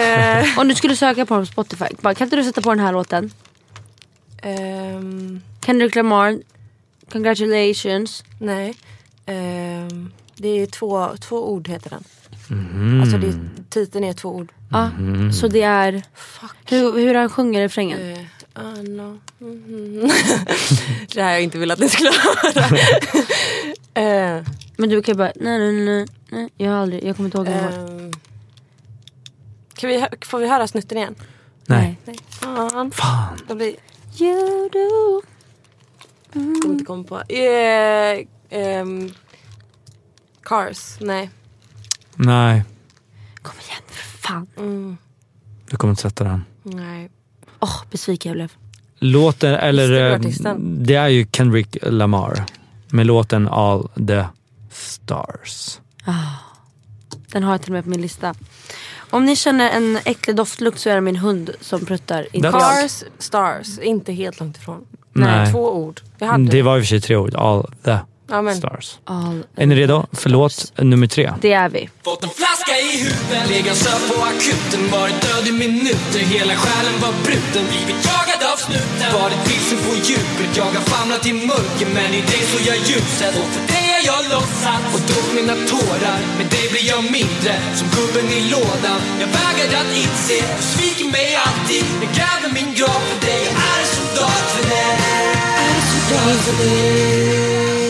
Speaker 2: är. Eh,
Speaker 3: Om du skulle söka på den på Spotify. Bara, kan inte du sätta på den här låten?
Speaker 2: ehm,
Speaker 3: Kendrick Lamar. Congratulations.
Speaker 2: nej. Ehm, det är två, två ord heter den.
Speaker 1: Mm-hmm.
Speaker 2: Alltså det, är- titeln är två ord.
Speaker 3: Ja, så det är... Hur, hur han sjunger refrängen?
Speaker 2: Eh, Anna. Mhm. det här har jag inte velat att ni skulle höra. Eh,
Speaker 3: Men du kan ju bara... Nej, nej, nej, nej. Jag, har aldrig, jag kommer inte ihåg den här.
Speaker 2: ehm, kan vi, hö- får vi höra snutten igen?
Speaker 1: Nej.
Speaker 2: Nej. Fan.
Speaker 1: Fan.
Speaker 2: Det blir
Speaker 3: You do.
Speaker 2: Jag kommer inte komma på. Eh, ehm, cars, nej.
Speaker 1: Nej,
Speaker 3: Kom igen för fan.
Speaker 1: du kommer inte sätta den.
Speaker 2: Mm, nej.
Speaker 3: Åh, besviken jag blev.
Speaker 1: Låten,
Speaker 2: Visst är det
Speaker 1: eller eh,
Speaker 2: artisten?
Speaker 1: det är ju Kendrick Lamar med låten All the Stars.
Speaker 3: Den har jag till och med på min lista. Om ni känner en äcklig doftlukt så är det min hund som pruttar. Inte
Speaker 1: That's-
Speaker 3: jag.
Speaker 2: Cars, stars, inte helt långt ifrån.
Speaker 1: Nej.
Speaker 2: Två ord. Vi hade
Speaker 1: Det var i och för sig tre ord, All the
Speaker 2: ja, men,
Speaker 1: Stars.
Speaker 3: All-
Speaker 1: Är ni redo? Förlåt, nummer tre.
Speaker 3: Det är vi.
Speaker 5: Fått en flaska i huvudet, legat söt på akuten Varit död i minuter, hela själen var bruten Blivit jagad av snuten, varit vilsen på djupet Jag har famlat i mörker, men i dig såg jag ljuset Och för dig är när jag låtsas och drog mina tårar Med dig blir jag mindre som gubben i lådan Jag vägrar att inse, du sviker mig alltid Jag gräver min grav för dig, jag är en soldat för dig Är en soldat för dig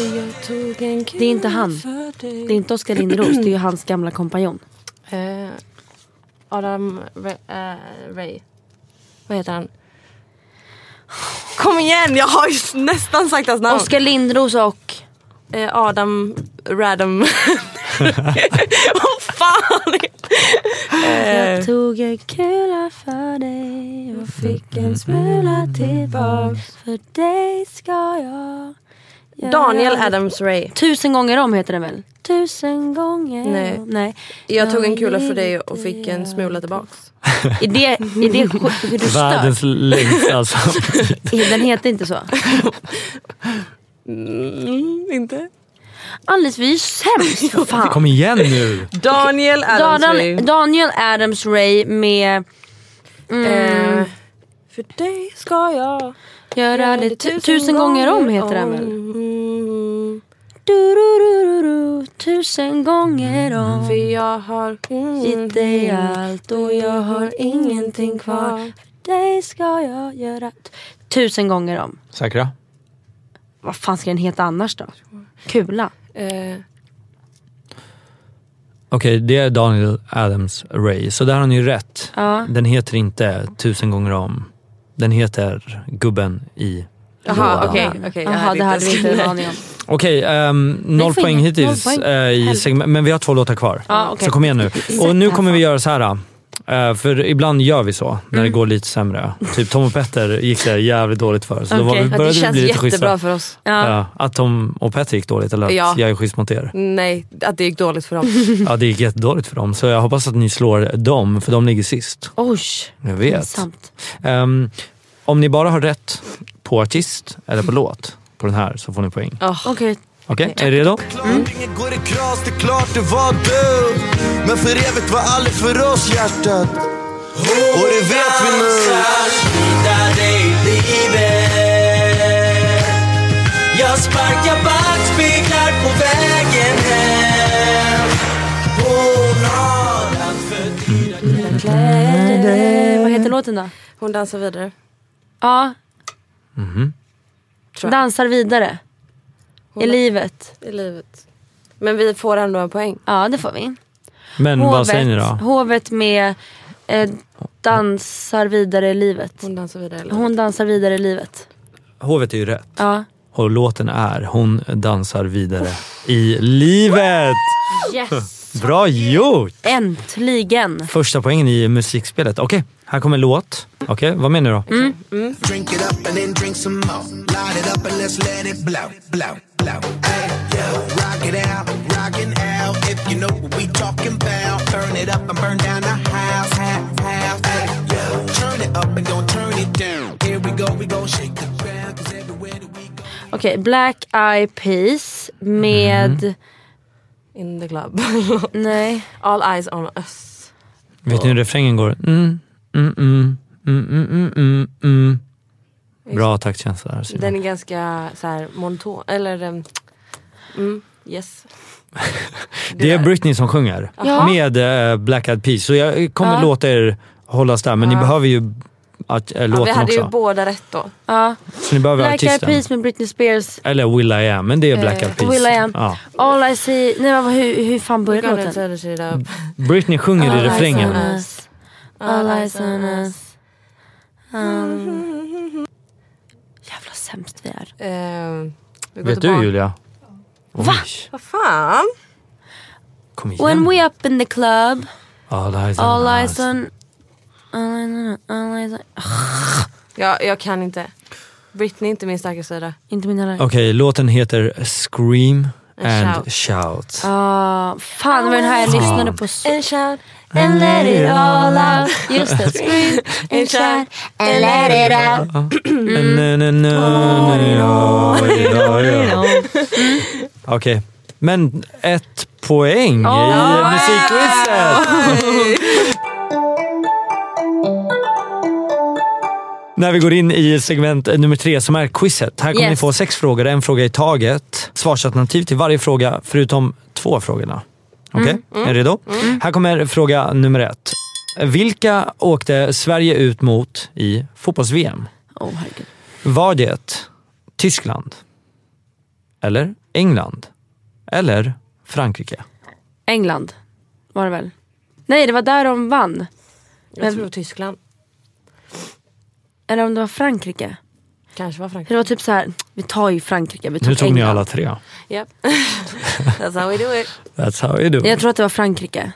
Speaker 3: Det är inte han. Det är inte Oskar Lindros, det är ju hans gamla kompanjon.
Speaker 2: Eh, Adam Ray, Ray. Vad heter han? Kom igen, jag har ju s- nästan sagt hans namn.
Speaker 3: Oskar Lindros och...
Speaker 2: Eh, Adam Radam. Vad fan! Eh.
Speaker 3: Jag tog en kula för dig och fick en smula tillbaks. För dig ska jag... göra
Speaker 2: Daniel
Speaker 3: allt.
Speaker 2: Adams Ray.
Speaker 3: Tusen gånger om heter den väl? Tusen gånger
Speaker 2: Nej.
Speaker 3: om. Nej.
Speaker 2: Jag tog en kula för dig och fick en smula tillbaks.
Speaker 3: Är det, är det sj- är du störd?
Speaker 1: Världens längsta alltså.
Speaker 3: Den heter inte så.
Speaker 2: Inte?
Speaker 3: Alice vi är ju sämst för fan.
Speaker 1: Kom igen nu.
Speaker 2: Daniel Adams Ray.
Speaker 3: Daniel, Daniel Adams Ray med mm,
Speaker 2: Eh, för dig ska jag
Speaker 3: Göra det tu- tusen gånger om heter den väl?
Speaker 2: Mm,
Speaker 3: Du, du, du, du, du, tusen gånger
Speaker 2: för
Speaker 1: Mm.
Speaker 3: om.
Speaker 2: jag har
Speaker 3: Gett dig allt och jag har ingenting kvar. För dig ska jag göra... t- Tusen gånger om.
Speaker 1: Säkra?
Speaker 3: Vad fan ska den heta annars då? Kula.
Speaker 2: Eh,
Speaker 1: Okej, det är Daniel Adams Ray. Så där har ni rätt.
Speaker 3: Ja.
Speaker 1: Den heter inte Tusen gånger om. Den heter Gubben i
Speaker 2: Jaha,
Speaker 1: lådan.
Speaker 2: okej. okej, jag
Speaker 3: Jaha, det hade vi inte en aning om.
Speaker 1: Okej, ehm, noll
Speaker 3: får
Speaker 1: poäng
Speaker 3: inga-
Speaker 1: hittills
Speaker 3: noll poäng.
Speaker 1: eh, i
Speaker 3: Helvete.
Speaker 1: segment, men vi har två låtar kvar.
Speaker 3: Ja, okej.
Speaker 1: Så kom igen nu. Och nu kommer vi göra så här. eh, för ibland gör vi så när det går lite sämre. Typ Tom och Petter gick det jävligt dåligt för. Så då var
Speaker 3: Okej,
Speaker 1: vi,
Speaker 3: att det
Speaker 2: Ja, det
Speaker 1: började vi
Speaker 2: känns
Speaker 1: bli lite
Speaker 2: jättebra
Speaker 1: schyssta.
Speaker 2: för oss.
Speaker 3: Ja.
Speaker 1: Ja, att Tom och Petter gick dåligt eller att
Speaker 2: Ja.
Speaker 1: jag är schysst mot er.
Speaker 2: Nej, att det gick dåligt för dem.
Speaker 1: Ja, det gick jättedåligt för dem. Så jag hoppas att ni slår dem, för de ligger sist.
Speaker 3: Oj,
Speaker 1: Jag vet.
Speaker 3: pinsamt.
Speaker 1: Ehm, om ni bara har rätt på artist eller på låt på den här så får ni poäng.
Speaker 3: Okej,
Speaker 1: Okej, är ni redo?
Speaker 7: Inget går i kras, det är klart det var du Men för evigt var aldrig för oss hjärtat Och det vet vi nu
Speaker 5: Jag sparkar backspeglar på vägen hem Hon har allt för dyra
Speaker 3: eh, vad heter låten då?
Speaker 2: Hon dansar vidare.
Speaker 3: Ja.
Speaker 1: Mhm.
Speaker 2: Tror jag.
Speaker 3: Dansar vidare. I livet.
Speaker 2: I livet. Men vi får ändå en poäng.
Speaker 3: Ja, det får vi.
Speaker 1: Men vad säger ni då?
Speaker 3: hovet med eh, dansar vidare i livet.
Speaker 2: Hon dansar vidare. Eller?
Speaker 3: Hon dansar vidare i livet.
Speaker 1: Hovet är ju rätt.
Speaker 3: Ja.
Speaker 1: Och låten är Hon dansar vidare i livet.
Speaker 3: Yes!
Speaker 1: Bra gjort!
Speaker 3: Äntligen!
Speaker 1: Första poängen i musikspelet. Okej, här kommer en låt. Okej, vad menar du då?
Speaker 3: Mm.
Speaker 7: Drink it up and then drink some more Light it up and let's let it blow, blow, blow Ay, yo, Rock it out, rockin' out If you know what we talking about Burn it up and burn down the house, house, house Ay, yo, Turn it up and don't turn it down Here we go, we gon' shake the ground Cause everywhere that we go
Speaker 3: Okej, Black Eyed Peas med...
Speaker 2: In the club.
Speaker 3: Nej.
Speaker 2: All eyes on us.
Speaker 1: Vet ni hur refrängen går? Mm, mm, mm, mm, mm, mm, mm, mm. Bra taktkänsla där
Speaker 2: Den
Speaker 1: Simon.
Speaker 2: är ganska så här monton. Eller... em, Mm, yes.
Speaker 1: Det är Britney som sjunger
Speaker 3: Ja.
Speaker 1: med eh, Black Eyed Peas. Så jag kommer låta er hållas där, men ni behöver ju att, äh,
Speaker 2: Ja, vi
Speaker 1: låten
Speaker 2: hade ju
Speaker 1: också.
Speaker 2: båda rätt då.
Speaker 3: Ja.
Speaker 1: Så ni behöver
Speaker 3: Black Eyed
Speaker 1: artisten.
Speaker 3: Peas med Britney Spears.
Speaker 1: Eller Will I Am, men det är Black Eyed Peas.
Speaker 3: Will I Am.
Speaker 1: Ja.
Speaker 3: All I see... Nej men vad- hur, hur fan börjar
Speaker 2: Gotta
Speaker 3: låten?
Speaker 2: turn it up.
Speaker 1: Britney sjunger i
Speaker 3: All eyes on
Speaker 1: refrängen.
Speaker 3: us. All eyes on us. Um. Jävla sämst vi är.
Speaker 2: Ehm, vi går
Speaker 1: Vet du
Speaker 2: tillbaka.
Speaker 1: Julia? Va?
Speaker 2: Vad fan?
Speaker 1: Kom igen.
Speaker 3: When we up in the club.
Speaker 1: All eyes on
Speaker 3: All
Speaker 1: us.
Speaker 3: eyes on... All eyes on... All Ah, eyes on... Ugh,
Speaker 2: Jag, jag kan inte. Britney är inte min starka sida.
Speaker 3: inte min heller.
Speaker 1: Okej, låten heter Scream
Speaker 2: And
Speaker 1: and Shout.
Speaker 3: Ah, fan, det var den här jag lyssnade på så...
Speaker 2: And shout
Speaker 3: And let it all out. Just det. Scream and shout and let it out.
Speaker 1: Na, na, na, na, ja, ja, ja. Okej, men ett poäng i musikquizet! När vi går in i segment nummer tre som är quizet. Här kommer
Speaker 3: Yes.
Speaker 1: ni få sex frågor, en fråga i taget. Svarsalternativ till varje fråga förutom två av frågorna. Okej, är ni redo? Här kommer fråga nummer ett. Vilka åkte Sverige ut mot i fotbolls-VM?
Speaker 3: Oh, herregud.
Speaker 1: Var det Tyskland? Eller England? Eller Frankrike?
Speaker 3: England var det väl? Nej, det var där de vann.
Speaker 2: Jag tror Tyskland.
Speaker 3: Eller om det var Frankrike.
Speaker 2: Kanske var Frankrike.
Speaker 3: Det var typ så här, vi tar ju Frankrike, vi tar
Speaker 1: Nu tog ni
Speaker 3: England.
Speaker 1: alla tre.
Speaker 2: Yep. That's how we do it.
Speaker 1: That's how you do.
Speaker 3: Jag tror att det var Frankrike.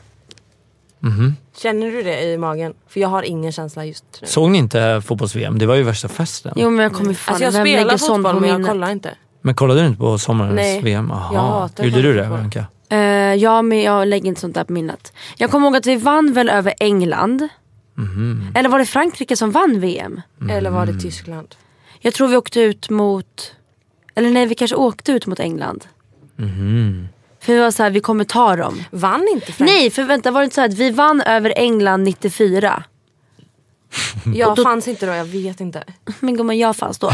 Speaker 2: Känner du det i magen? För jag har ingen känsla just nu.
Speaker 1: Såg ni inte fotbolls-VM? Det var ju värsta festen.
Speaker 3: Jo men jag kommer fan,
Speaker 2: Alltså jag
Speaker 3: vem lägger
Speaker 2: spelar
Speaker 3: sånt
Speaker 2: fotboll
Speaker 3: på
Speaker 2: men jag
Speaker 3: minnet?
Speaker 2: kollar inte.
Speaker 1: Men kollade du inte på sommarens
Speaker 2: Nej,
Speaker 1: VM? Aha.
Speaker 2: jag hatar
Speaker 1: Gjorde du det
Speaker 2: fotboll.
Speaker 1: Bianca?
Speaker 3: Eh, ja men jag lägger inte sånt där på minnet. Jag kommer ihåg att vi vann väl över England.
Speaker 1: Mhm.
Speaker 3: Eller var det Frankrike som vann VM?
Speaker 2: Eller var det Tyskland?
Speaker 3: Jag tror vi åkte ut mot, eller nej vi kanske åkte ut mot England.
Speaker 1: Mhm.
Speaker 3: För vi var så här, vi kommer ta dem.
Speaker 2: Vann inte Frankrike?
Speaker 3: Nej för vänta var det inte så här att vi vann över England 94?
Speaker 2: Nej. Jag fanns inte då, jag vet inte.
Speaker 3: Men gumman jag fanns då.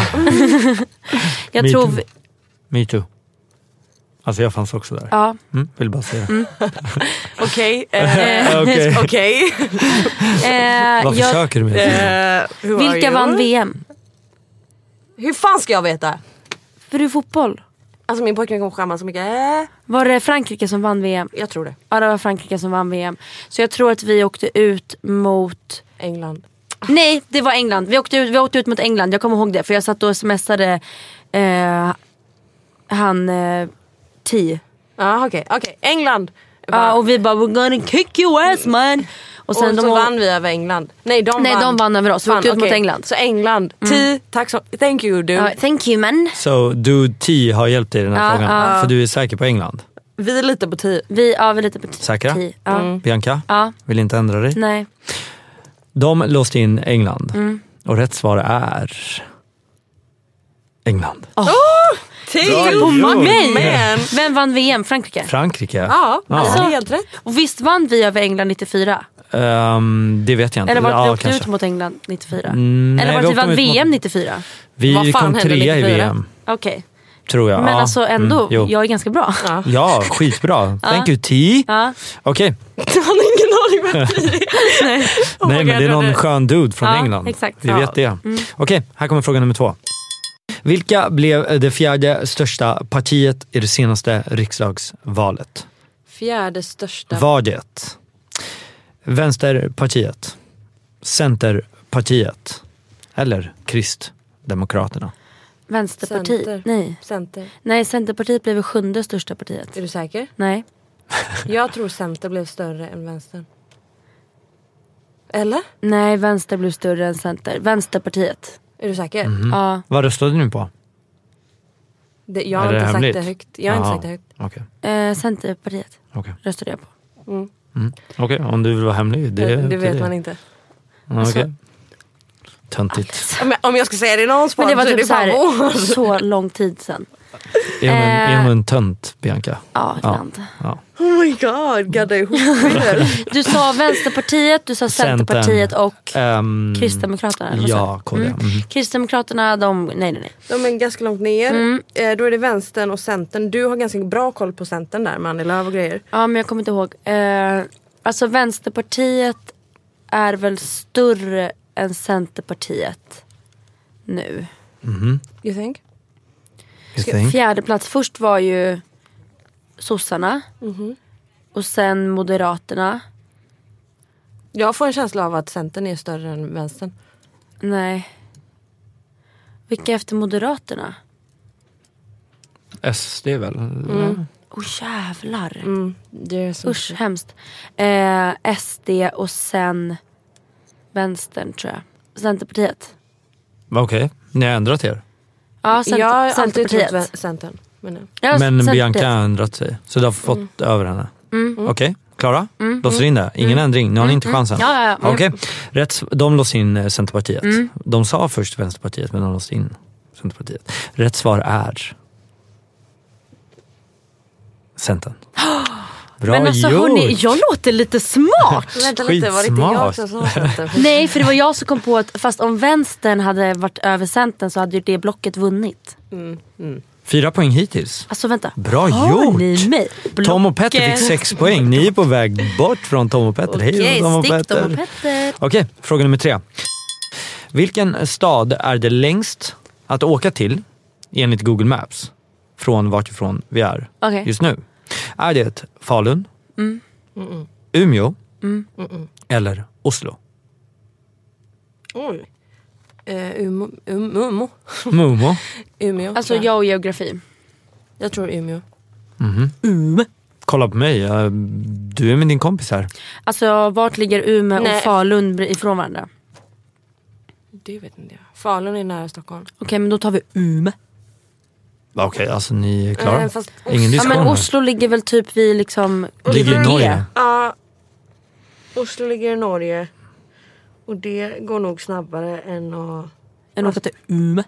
Speaker 3: jag
Speaker 1: Me
Speaker 3: tror,
Speaker 1: too.
Speaker 3: vi-
Speaker 1: Me too. Alltså jag fanns också där.
Speaker 3: ja.
Speaker 1: Mm, vill bara säga.
Speaker 2: Okej. eh,
Speaker 1: Okej.
Speaker 2: Okej.
Speaker 3: Eh,
Speaker 1: Vad
Speaker 3: jag,
Speaker 1: försöker du med?
Speaker 2: Eh, who are
Speaker 3: vilka
Speaker 2: you?
Speaker 3: vann VM?
Speaker 2: Hur fan ska jag veta?
Speaker 3: För du är fotboll.
Speaker 2: Alltså min pojkvän kommer skämmas så mycket. Eh,
Speaker 3: Var det Frankrike som vann VM?
Speaker 2: jag tror det.
Speaker 3: Ja det var Frankrike som vann VM. Så jag tror att vi åkte ut mot...
Speaker 2: England.
Speaker 3: Nej det var England. Vi åkte ut, vi åkte ut mot England. Jag kommer ihåg det för jag satt och smsade eh, han eh, T.
Speaker 2: Ja okej, okej. England.
Speaker 3: Ja, och vi bara we're gonna kick your ass man. Och sen
Speaker 2: och
Speaker 3: de
Speaker 2: så
Speaker 3: å-
Speaker 2: vann vi över England. Nej de
Speaker 3: Nej,
Speaker 2: vann.
Speaker 3: de vann över oss. Vi
Speaker 2: Fan,
Speaker 3: åkte ut mot
Speaker 2: okej.
Speaker 3: England.
Speaker 2: Så England. Mm. T, tack så Thank you dude.
Speaker 3: Ja, thank you man.
Speaker 1: So, dude T har hjälpt dig i den här
Speaker 3: Ja,
Speaker 1: frågan. För du är säker på England?
Speaker 2: Vi litar på T.
Speaker 3: Vi, ja vi lite på T.
Speaker 1: Säkra?
Speaker 3: T. Ja.
Speaker 2: Mm.
Speaker 1: Bianca?
Speaker 3: Mm. Ja.
Speaker 1: Vill inte ändra dig?
Speaker 3: Nej.
Speaker 1: De låste in England. Och rätt svar är... England.
Speaker 2: T
Speaker 3: på mig!
Speaker 2: Men.
Speaker 3: Vem vann VM? Frankrike?
Speaker 1: Frankrike?
Speaker 2: Ja,
Speaker 1: Ja.
Speaker 2: alltså helt rätt.
Speaker 3: Och visst vann vi över England 94?
Speaker 1: Ehm, det vet jag inte.
Speaker 3: Eller var det
Speaker 1: ja,
Speaker 3: vi åkte
Speaker 1: kanske. Mm,
Speaker 3: ut mot England 94?
Speaker 1: nej,
Speaker 3: Eller var
Speaker 1: vi
Speaker 3: det vi
Speaker 1: åkte
Speaker 3: vann
Speaker 1: ut mot-
Speaker 3: VM 94?
Speaker 1: Vi
Speaker 2: Vad fan
Speaker 1: kom
Speaker 2: hände
Speaker 1: trea i
Speaker 2: 94?
Speaker 1: VM,
Speaker 3: Okej.
Speaker 1: tror jag.
Speaker 3: Men
Speaker 1: ja.
Speaker 3: alltså ändå,
Speaker 1: Mm, jo.
Speaker 3: jag är ganska bra.
Speaker 1: Ja, skitbra. Thank you T.
Speaker 3: Ja.
Speaker 1: Okej.
Speaker 2: Han har ingen aning vem T är. Oh my
Speaker 1: Nej men
Speaker 2: God,
Speaker 1: det är någon
Speaker 2: trodde-
Speaker 1: skön dude från
Speaker 3: Ja,
Speaker 1: England.
Speaker 3: exakt.
Speaker 1: Vi
Speaker 3: Ja.
Speaker 1: vet det. Okej, här kommer fråga nummer två. Vilka blev det fjärde största partiet i det senaste riksdagsvalet?
Speaker 2: Fjärde största.
Speaker 1: Var det Vänsterpartiet, Centerpartiet eller Kristdemokraterna?
Speaker 3: Vänsterpartiet.
Speaker 2: Center.
Speaker 3: Nej.
Speaker 2: Center.
Speaker 3: Nej, Centerpartiet blev det sjunde största partiet.
Speaker 2: Är du säker?
Speaker 3: Nej.
Speaker 2: Jag tror Center blev större än Vänstern. Eller?
Speaker 3: Nej, Vänster blev större än Center. Vänsterpartiet.
Speaker 2: Är du säker?
Speaker 1: Mhm. Mm.
Speaker 3: Ja.
Speaker 1: Vad röstade ni på?
Speaker 2: Det, jag har
Speaker 1: Är det
Speaker 2: inte sagt
Speaker 1: hemligt?
Speaker 2: det högt. Jag har inte
Speaker 1: Jaha.
Speaker 2: sagt det högt.
Speaker 1: Okej,
Speaker 3: Eh, Centerpartiet
Speaker 1: okej.
Speaker 3: röstade jag på.
Speaker 1: Okej, om du vill vara hemlig. Det,
Speaker 2: Eh, Det,
Speaker 1: det
Speaker 2: vet man inte.
Speaker 1: Ja, Okej. Töntigt.
Speaker 2: Om jag, om jag ska säga det i någons
Speaker 3: Men
Speaker 2: form
Speaker 3: det var
Speaker 2: så är
Speaker 3: typ
Speaker 2: det
Speaker 3: så,
Speaker 2: fan vår.
Speaker 3: här, så lång tid sedan.
Speaker 1: Är hon en,
Speaker 3: Eh.
Speaker 1: är hon en tönt, Bianca?
Speaker 3: Ja, ibland.
Speaker 1: Ja.
Speaker 2: Oh my god, gadda ihop er.
Speaker 3: Du sa Vänsterpartiet, du sa
Speaker 1: Centern.
Speaker 3: Centerpartiet och
Speaker 1: Ehm,
Speaker 3: Kristdemokraterna. eller vad sa
Speaker 1: Ja, KD. Mm.
Speaker 3: du? Kristdemokraterna, de, nej nej nej.
Speaker 2: De är ganska långt ner. Eh, då är det Vänstern och Centern. Du har ganska bra koll på Centern där med Annie Lööf och grejer.
Speaker 3: Ja men jag kommer inte ihåg. Eh, alltså Vänsterpartiet är väl större än Centerpartiet nu.
Speaker 2: You think?
Speaker 1: You think?
Speaker 3: Fjärde plats först var ju sossarna.
Speaker 2: Mm-hmm.
Speaker 3: Och sen moderaterna.
Speaker 2: Jag får en känsla av att Centern är större än Vänstern.
Speaker 3: Nej. Vilka efter moderaterna?
Speaker 1: SD väl?
Speaker 2: Mm.
Speaker 3: Åh oh, jävlar.
Speaker 2: Det är så.
Speaker 3: Usch hemskt. Eh, SD och sen vänstern tror jag. Centerpartiet.
Speaker 1: Okej, ni har ändrat er.
Speaker 3: Ja, center,
Speaker 2: Jag har alltid
Speaker 3: Centerpartiet.
Speaker 2: trott vä- Centern. Men nej.
Speaker 3: Ja,
Speaker 1: Men
Speaker 3: Centerpartiet.
Speaker 1: Bianca har ändrat sig, så du har fått
Speaker 3: Mm.
Speaker 1: över henne. Okej, klara? Låser in det? Ingen ändring? Nu har ni inte chansen?
Speaker 3: Mm. Ja, ja, Mm. ja.
Speaker 1: Okej, Rätt s- de låser in eh, Centerpartiet. De sa först Vänsterpartiet, men de låste in Centerpartiet. Rätt svar är... Centern. Bra
Speaker 3: Men alltså
Speaker 1: gjort!
Speaker 3: hörni, jag låter lite smart.
Speaker 2: Vänta lite, var det inte jag
Speaker 1: Skitsmart.
Speaker 2: också som sa detta?
Speaker 3: Nej, för det var jag som kom på att fast om vänstern hade varit över centern så hade ju det blocket vunnit.
Speaker 1: Fyra poäng hittills.
Speaker 3: Alltså vänta.
Speaker 1: Bra
Speaker 3: Hör
Speaker 1: gjort!
Speaker 3: ni mig?
Speaker 1: Tom och Petter fick sex poäng. Ni är på väg bort från Tom och Petter. Hej
Speaker 3: Okej,
Speaker 1: då, Tom och
Speaker 3: stick
Speaker 1: Petter.
Speaker 3: Tom och Petter.
Speaker 1: Okej, fråga nummer tre. Vilken stad är det längst att åka till enligt Google Maps? Från vart ifrån vi är
Speaker 3: Okej.
Speaker 1: just nu. Är det Falun,
Speaker 2: Mm.
Speaker 1: Umeå eller Oslo?
Speaker 2: Oj. Eh, Umo, um, Umo.
Speaker 1: Momo.
Speaker 2: Umeå.
Speaker 3: Alltså
Speaker 2: tror jag...
Speaker 3: jag och geografi.
Speaker 2: jag tror Umeå.
Speaker 1: Kolla på mig, jag- du är med din kompis här.
Speaker 3: Alltså vart ligger Umeå
Speaker 2: Nej.
Speaker 3: och Falun ifrån varandra?
Speaker 2: Det vet inte jag. Falun är nära Stockholm.
Speaker 3: Okej men då tar vi Umeå.
Speaker 1: Okej, alltså ni är klara?
Speaker 2: Eh, fast-
Speaker 1: Ingen
Speaker 3: Ja,
Speaker 1: diskussion
Speaker 3: men
Speaker 1: här.
Speaker 3: Oslo ligger väl typ vid liksom...
Speaker 1: Ligger i
Speaker 2: Oslo-
Speaker 1: Norge.
Speaker 2: Ja. Oslo ligger i Norge. Och det går nog snabbare än att...
Speaker 3: Än åka till Umeå.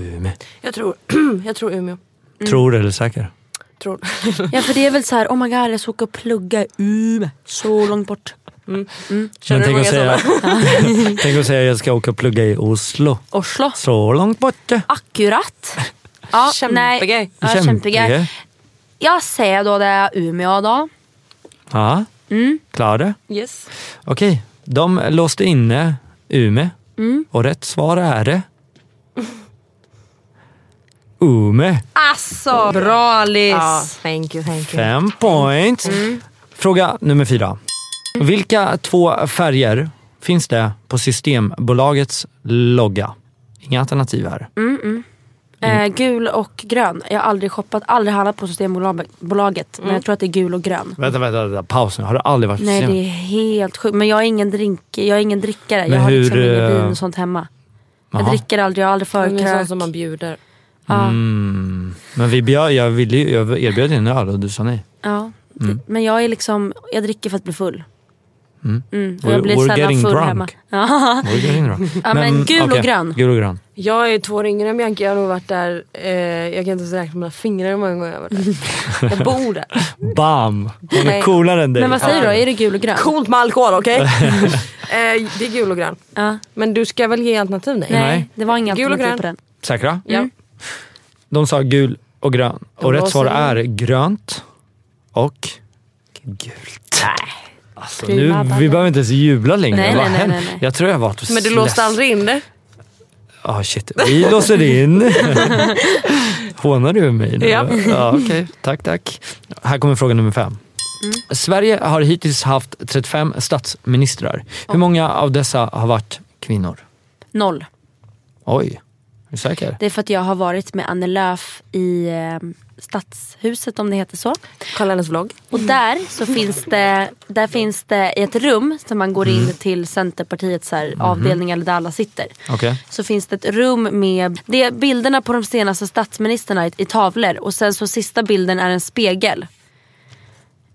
Speaker 1: Umeå.
Speaker 2: Jag tror, jag tror Umeå.
Speaker 1: Tror eller säker?
Speaker 2: Tror.
Speaker 3: Ja för det är väl så här, oh my god jag ska åka och plugga i Umeå. Så långt bort.
Speaker 1: Men
Speaker 2: du
Speaker 1: tänk
Speaker 2: många
Speaker 1: att, säga, tänk att säga jag ska åka och plugga i Oslo.
Speaker 3: Oslo.
Speaker 1: Så långt bort.
Speaker 3: Akkurat. Ja,
Speaker 2: Kämpegrej.
Speaker 3: Nej, ja, kämpegrej. Jag säger då det är Umeå då.
Speaker 1: Ja,
Speaker 3: Mm.
Speaker 1: klara.
Speaker 2: Yes.
Speaker 1: Okej, de låste inne Ume.
Speaker 3: Mm.
Speaker 1: Och rätt svar är det... Ume.
Speaker 3: Alltså! Bra Alice!
Speaker 2: Ja, thank you, thank you.
Speaker 1: Fem points.
Speaker 3: Mm.
Speaker 1: Fråga nummer fyra. Vilka två färger finns det på Systembolagets logga? Inga alternativ här.
Speaker 3: Mm. Eh, gul och grön. Jag har aldrig shoppat, aldrig handlat på Systembolaget. Men jag tror att det är gul och grön.
Speaker 1: Vänta, vänta, vänta, paus nu. Har du aldrig varit på
Speaker 3: Nej
Speaker 1: Systemet?
Speaker 3: det är helt sjukt. Men jag är ingen, drink, jag är ingen drickare.
Speaker 1: Men
Speaker 3: jag har
Speaker 1: hur,
Speaker 3: liksom ingen
Speaker 1: eh,
Speaker 3: vin och sånt hemma.
Speaker 1: Jaha.
Speaker 3: Jag dricker aldrig, jag har aldrig
Speaker 2: Det är sånt
Speaker 3: förkrök.
Speaker 2: som man bjuder.
Speaker 3: Ja,
Speaker 1: Mm. Men vi bjöd, jag, ville, ju- jag erbjöd dig en öl och du sa nej.
Speaker 3: ja.
Speaker 1: Mm.
Speaker 3: Men jag är liksom, jag dricker för att bli full. Mm. Och
Speaker 1: We're-
Speaker 3: jag blir
Speaker 1: we're
Speaker 3: sällan
Speaker 1: getting
Speaker 3: full
Speaker 1: drunk.
Speaker 3: hemma. Ja.
Speaker 1: Oj, det ringer då.
Speaker 3: Ja, men gul och
Speaker 1: okej,
Speaker 3: grön.
Speaker 1: Gul och grön.
Speaker 2: Jag är två år yngre än Bianca, jag har nog varit där, eh, jag kan inte ens räkna mina fingrar hur många gånger jag har varit där. Jag bor där.
Speaker 1: Bam! Hon är
Speaker 2: Nej.
Speaker 1: coolare än dig.
Speaker 3: Men vad säger du då? Är det gul och grön?
Speaker 2: Coolt med alkohol, okej? eh, det är gul och grön.
Speaker 3: Ja.
Speaker 2: Men du ska väl ge alternativ? Nej.
Speaker 1: Nej.
Speaker 3: Nej, det var inga
Speaker 2: Gul och
Speaker 3: alternativ
Speaker 2: grön.
Speaker 3: på den.
Speaker 1: Säkra? Mm.
Speaker 2: Ja.
Speaker 1: De sa gul och grön. Och
Speaker 2: Vad
Speaker 1: rätt svar
Speaker 2: säger
Speaker 1: är grönt och gult. Alltså, nu,
Speaker 3: Prima
Speaker 1: vi
Speaker 3: ballen.
Speaker 1: behöver inte ens jubla längre.
Speaker 3: Nej,
Speaker 1: Vad
Speaker 3: nej, nej,
Speaker 1: händer?
Speaker 3: nej, nej.
Speaker 1: Jag tror jag vart
Speaker 2: Men du låste aldrig in det?
Speaker 1: Ja, shit. Vi låser in. Hånar du mig nu?
Speaker 2: Ja.
Speaker 1: ja okej. Tack, tack. Här kommer fråga nummer fem.
Speaker 3: Mm.
Speaker 1: Sverige har hittills haft 35 statsministrar. Hur många av dessa har varit kvinnor?
Speaker 3: Noll.
Speaker 1: Oj, är du säker?
Speaker 3: Det är för att jag har varit med Annie Lööf i eh, Stadshuset om det heter så.
Speaker 2: Kolla hennes vlogg.
Speaker 1: Mm.
Speaker 3: Och där så finns det, där finns det ett rum som man går in
Speaker 1: Mm.
Speaker 3: till Centerpartiets så här, avdelning eller där alla sitter.
Speaker 1: Mhm. Okej.
Speaker 3: Så finns det ett rum med det är bilderna på de senaste statsministrarna i, i tavlor och sen så sista bilden är en spegel.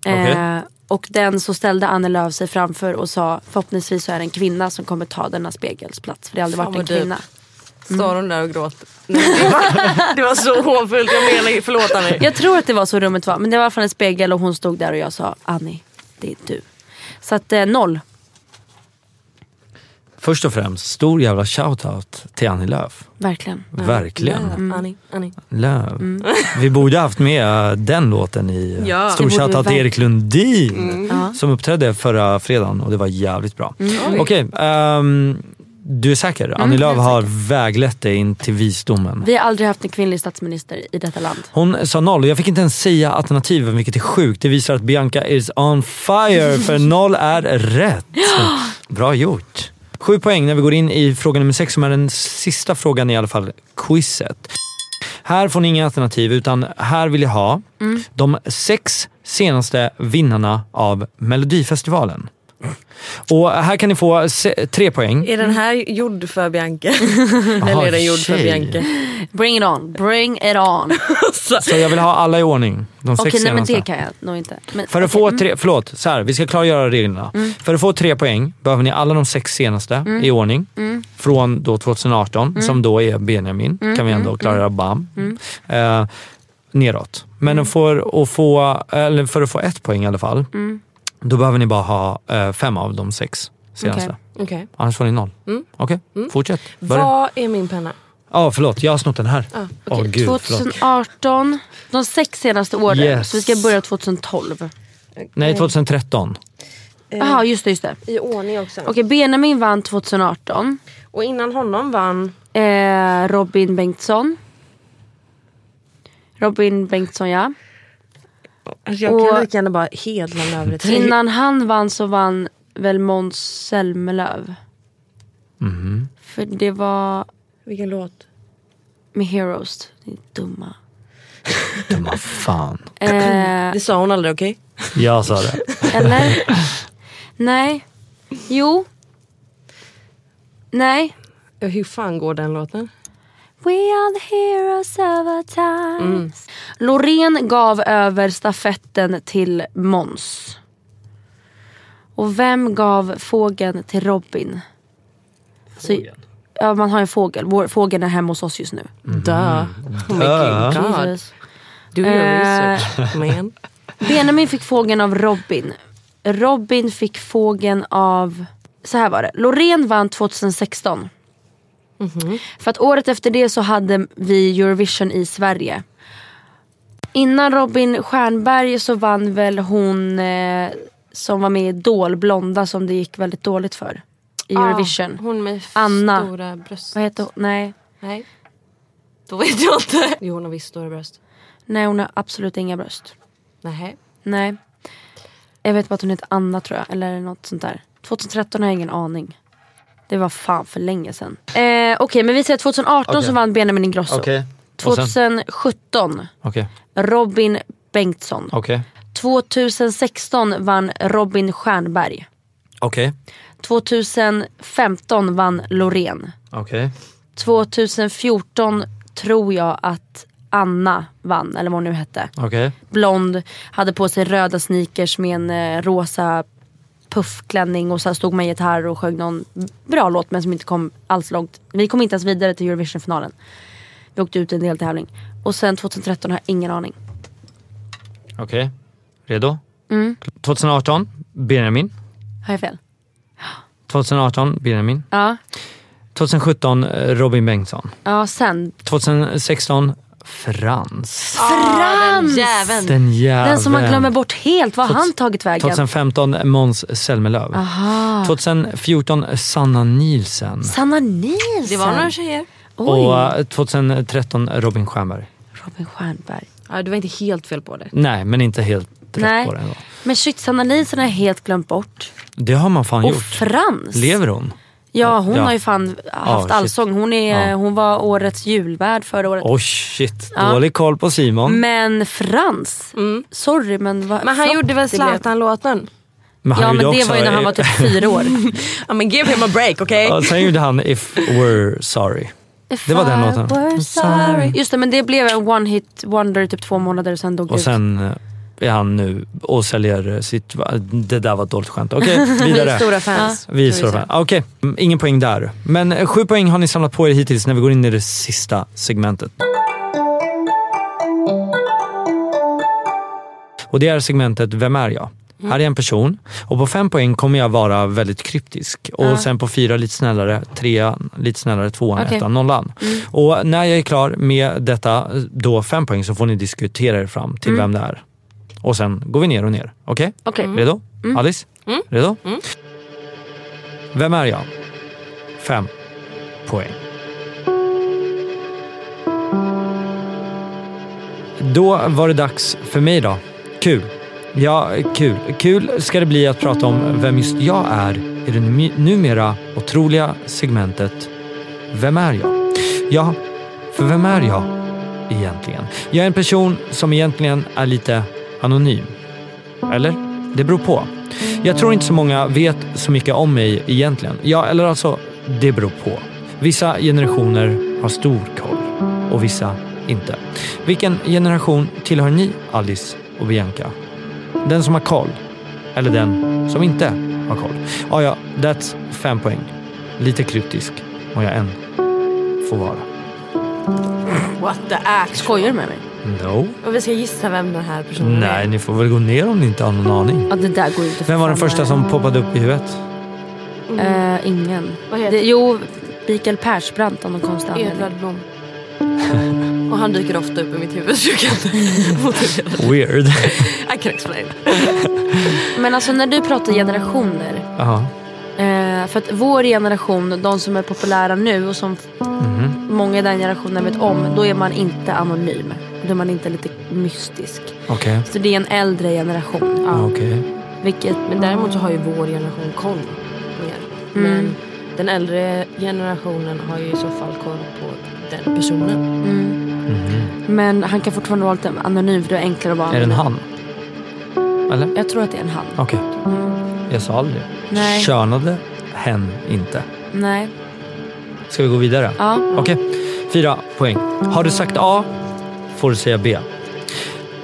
Speaker 3: Eh,
Speaker 1: Okej.
Speaker 3: och den så ställde Annie Lööf sig framför och sa förhoppningsvis så är det en kvinna som kommer ta denna spegels plats för det har aldrig
Speaker 2: Fan,
Speaker 3: varit en
Speaker 2: vad dyrt.
Speaker 3: kvinna.
Speaker 2: Står hon där och gråter? Nej, Mm. det, var, det var så hånfullt, jag menar förlåt Annie.
Speaker 3: Jag tror att det var så rummet var. Men det var i alla fall en spegel och hon stod där och jag sa Annie, det är du. Så att eh, noll.
Speaker 1: Först och främst, stor jävla shoutout till Annie Lööf.
Speaker 3: Verkligen.
Speaker 1: Verkligen.
Speaker 2: Annie, Annie.
Speaker 1: Lööf. Vi borde haft med eh, den låten i eh,
Speaker 2: Ja.
Speaker 1: Stor
Speaker 3: Det borde vi
Speaker 1: shoutout till
Speaker 3: verkligen.
Speaker 1: Erik Lundin
Speaker 3: Ja.
Speaker 1: som uppträdde förra fredagen och det var jävligt bra. Okej, ehm, du är säker? Annie Lööf har väglett dig in till visdomen.
Speaker 3: Vi har aldrig haft en kvinnlig statsminister i detta land.
Speaker 1: Hon sa noll och jag fick inte ens säga alternativen vilket är sjukt. Det visar att Bianca is on fire för noll är rätt. Bra gjort. Sju poäng när vi går in i fråga nummer sex som är den sista frågan i alla fall, quizet. Här får ni inga alternativ utan här vill jag ha
Speaker 2: Mm.
Speaker 1: de sex senaste vinnarna av Melodifestivalen. Och här kan ni få se- tre poäng.
Speaker 2: Är den här gjord för Bianca? Eller
Speaker 1: Aha,
Speaker 2: är den gjord för
Speaker 1: tjej.
Speaker 2: Bianca?
Speaker 3: Bring it on, bring it on. Okej,
Speaker 1: Så jag vill ha alla i ordning. De sex
Speaker 3: nej men
Speaker 1: senaste.
Speaker 3: det kan jag nog inte. Men,
Speaker 1: För att
Speaker 3: okej,
Speaker 1: få
Speaker 3: mm.
Speaker 1: tre, förlåt, så här, vi ska klargöra reglerna. För att få tre poäng behöver ni alla de sex senaste
Speaker 3: Mm.
Speaker 1: i ordning.
Speaker 3: Mm,
Speaker 1: Från då 2018, som då är Benjamin, kan vi ändå klargöra bam. Eh, neråt. Men
Speaker 3: Mm.
Speaker 1: för, att få, eller för att få ett poäng i alla fall,
Speaker 3: Mm.
Speaker 1: då behöver ni bara ha eh, fem av de sex senaste.
Speaker 3: Okej. Mm.
Speaker 2: Okej.
Speaker 1: Annars får ni noll. Okej, fortsätt. Börja. Ja,
Speaker 2: Vad är min penna?
Speaker 1: förlåt. Jag har snott den här. Åh
Speaker 3: Ah, Okej,
Speaker 1: gud, förlåt.
Speaker 3: 2018, de sex senaste åren.
Speaker 1: Yes.
Speaker 3: Så vi ska börja 2012.
Speaker 1: Nej, 2013.
Speaker 3: Jaha, just det. Just det.
Speaker 2: I ordning också.
Speaker 3: Okej, Benjamin vann 2018.
Speaker 2: Och innan honom vann...
Speaker 3: Eh, Robin Bengtsson. Robin Bengtsson ja.
Speaker 2: Alltså jag
Speaker 3: Och-
Speaker 2: kan lika gärna bara Hedlund över ett
Speaker 3: Innan han vann så vann väl Måns Zelmerlöw. För det var
Speaker 2: Vilken låt?
Speaker 3: med Heroes. Ni dumma.
Speaker 1: Men vad fan.
Speaker 3: Eh,
Speaker 2: Det sa hon aldrig okej?
Speaker 1: Jag sa det.
Speaker 3: eller? Nej. Jo. Nej.
Speaker 2: Ja, Hur fan går den låten?
Speaker 3: We are the heroes of our times. Mm. Loreen gav över stafetten till Mons. Och vem gav fågeln till Robin? Fågeln? ja, man har en fågel. Vår, fågeln är hemma hos oss just nu.
Speaker 2: Mhm. Duh. Oh my god.
Speaker 3: Jesus.
Speaker 2: Do your
Speaker 3: Eh.
Speaker 2: research man.
Speaker 3: Benjamin fick fågeln av Robin. Robin fick fågeln av... Så här var det. Loreen vann 2016. För att året efter det så hade vi Eurovision i Sverige. Innan Robin Stjernberg så vann väl hon eh, som var med i Idol, Blonda, som det gick väldigt dåligt för. I Eurovision.
Speaker 2: Ah, hon med f-
Speaker 3: Anna.
Speaker 2: stora bröst.
Speaker 3: Vad heter hon? Nej.
Speaker 2: Nej. Då vet jag inte. Jo hon har visst stora bröst.
Speaker 3: Nej, hon har absolut inga bröst.
Speaker 2: Nej.
Speaker 3: Nej. Jag vet bara att hon heter Anna tror jag, eller något sånt där. 2013 har jag ingen aning. Det var fan för länge sedan. Eh, Okej, men vi säger 2018 så vann Benjamin Ingrosso.
Speaker 1: Okej. Och sen?
Speaker 3: 2017
Speaker 1: Okej.
Speaker 3: Robin Bengtsson.
Speaker 1: Okej.
Speaker 3: 2016 vann Robin Stjernberg.
Speaker 1: Okej.
Speaker 3: 2015 vann Loreen.
Speaker 1: Okej.
Speaker 3: 2014 tror jag att Anna vann, eller vad hon nu hette.
Speaker 1: Okej.
Speaker 3: blond, hade på sig röda sneakers med en eh, rosa puffklänning och så stod med gitarr och sjöng någon bra låt men som inte kom alls långt. Vi kom inte ens vidare till Eurovisionfinalen. Vi åkte ut i en deltävling. Och sen 2013 har jag ingen aning.
Speaker 1: Okej. Redo?
Speaker 3: Mm.
Speaker 1: 2018, Benjamin.
Speaker 3: Har jag fel?
Speaker 1: 2018, Benjamin.
Speaker 3: Ja.
Speaker 1: 2017, eh, Robin Bengtsson.
Speaker 3: Ja, sen.
Speaker 1: 2016, Frans.
Speaker 3: Frans!
Speaker 2: Jäveln.
Speaker 1: Den jäveln.
Speaker 3: Den som man glömmer bort helt. Vad har han tagit vägen?
Speaker 1: 2015, Måns Zelmerlöw. 2014, Sanna Nielsen.
Speaker 3: Sanna Nielsen.
Speaker 2: Det var några tjejer.
Speaker 3: Oj,
Speaker 1: Och eh, 2013, Robin Stjernberg.
Speaker 3: Robin Stjernberg.
Speaker 2: Ja, du var inte helt fel på det.
Speaker 1: Nej, men inte helt rätt
Speaker 3: Nej.
Speaker 1: på det ändå.
Speaker 3: Men shit, Sanna Nielsen har jag helt glömt bort.
Speaker 1: Det har man fan
Speaker 3: Och
Speaker 1: gjort.
Speaker 3: Frans.
Speaker 1: Lever hon?
Speaker 3: Ja hon
Speaker 1: Ja.
Speaker 3: har ju fan haft
Speaker 1: shit.
Speaker 3: allsång. Hon, är,
Speaker 1: Ja.
Speaker 3: hon var årets julvärd förra året.
Speaker 1: Oh shit, dålig koll på Simon.
Speaker 3: Men Frans, sorry men vad
Speaker 2: Mm. Men han
Speaker 3: flott
Speaker 2: gjorde väl
Speaker 3: det blev.
Speaker 2: Zlatan-låten?
Speaker 1: Men
Speaker 3: Ja men
Speaker 1: gjorde
Speaker 3: det var ju när han var typ fyra år.
Speaker 2: Ja men give him a break okej?
Speaker 1: Ja, sen gjorde han If We're Sorry.
Speaker 3: If
Speaker 1: Det var den
Speaker 3: I
Speaker 1: låten.
Speaker 3: were sorry. Just det men det blev en one hit wonder i typ två månader och sen dog det
Speaker 1: Och
Speaker 3: ut.
Speaker 1: sen eh, är han nu och säljer sitt... va- Det där var ett dåligt skämt. Okej,
Speaker 2: Vi är
Speaker 1: vidare.
Speaker 2: stora fans.
Speaker 1: Vi är stora fan. Okej, mm, ingen poäng där. Men eh, sju poäng har ni samlat på er hittills när vi går in i det sista segmentet. Och det är segmentet Vem är jag?
Speaker 3: Mm.
Speaker 1: Här är en person och på fem poäng kommer jag vara väldigt kryptisk. Och sen på fyra lite snällare, trean lite snällare, tvåan,
Speaker 3: Okej. Mm.
Speaker 1: ettan, nollan. Och när jag är klar med detta, då fem poäng, så får ni diskutera er fram till vem det är. Och sen går vi ner och ner. Okej?
Speaker 3: Mm. Okej. Mm.
Speaker 1: Redo? Alice? Redo? Vem är jag? Fem poäng. Då var det dags för mig då. Kul. Ja, kul. Kul ska det bli att prata om vem just jag är i det nu- numera otroliga segmentet Vem är jag? Ja, för vem är jag egentligen? Jag är en person som egentligen är lite anonym. Eller? Det beror på. Jag tror inte så många vet så mycket om mig egentligen. Ja, eller alltså, det beror på. Vissa generationer har stor koll och vissa inte. Vilken generation tillhör ni, Alice och Bianca? Den som har koll eller den som inte har koll? Ja, ja, that's fem poäng. Lite kryptisk må jag än få vara.
Speaker 3: Skojar du med mig?
Speaker 1: No.
Speaker 3: Och vi ska gissa vem den här personen
Speaker 1: Nej,
Speaker 3: är.
Speaker 1: ni får väl gå ner om ni inte har någon aning.
Speaker 3: Ja, det där går ju inte
Speaker 1: Vem var den
Speaker 3: fram.
Speaker 1: första som poppade upp i huvudet?
Speaker 3: Eh, ingen.
Speaker 2: Vad heter
Speaker 3: Det, jo, Mikael Persbrandt av någon konstig anledning.
Speaker 2: Edvard Blom. Och han dyker ofta upp i mitt huvud så jag kan motivera det.
Speaker 1: Weird.
Speaker 2: I can explain.
Speaker 3: Men alltså när du pratar generationer.
Speaker 1: Jaha.
Speaker 3: Eh, för att vår generation, de som är populära nu och som
Speaker 1: Mhm.
Speaker 3: många i den generationen vet om, då är man inte anonym. Då är man inte lite mystisk.
Speaker 1: Okej.
Speaker 3: Så det är en äldre generation.
Speaker 1: Ja, Ah, Okej.
Speaker 3: Vilket,
Speaker 2: Men däremot så har ju vår generation koll mer. Men
Speaker 3: Mm.
Speaker 2: den äldre generationen har ju i så fall koll på den personen.
Speaker 3: mm. Men han kan fortfarande vara lite anonym för det är enklare att vara
Speaker 1: Är det en
Speaker 3: anonym.
Speaker 1: han? Eller?
Speaker 3: Jag tror att det är en han.
Speaker 1: Okej. Jag sa aldrig.
Speaker 3: Nej.
Speaker 1: Könade hen inte.
Speaker 3: Nej.
Speaker 1: Ska vi gå vidare?
Speaker 3: Ja.
Speaker 1: Okej, fyra poäng. Har du sagt A får du säga B.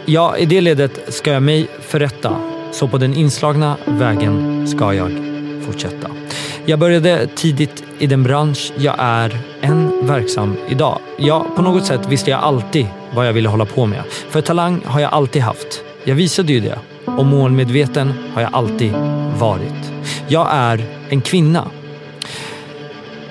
Speaker 1: Ja, i det ledet ska jag mig förrätta. Så på den inslagna vägen ska jag fortsätta. Jag började tidigt i den bransch jag är än verksam idag. Ja, på något sätt visste jag alltid vad jag ville hålla på med. För talang har jag alltid haft. Jag visade ju det. Och målmedveten har jag alltid varit. Jag är en kvinna.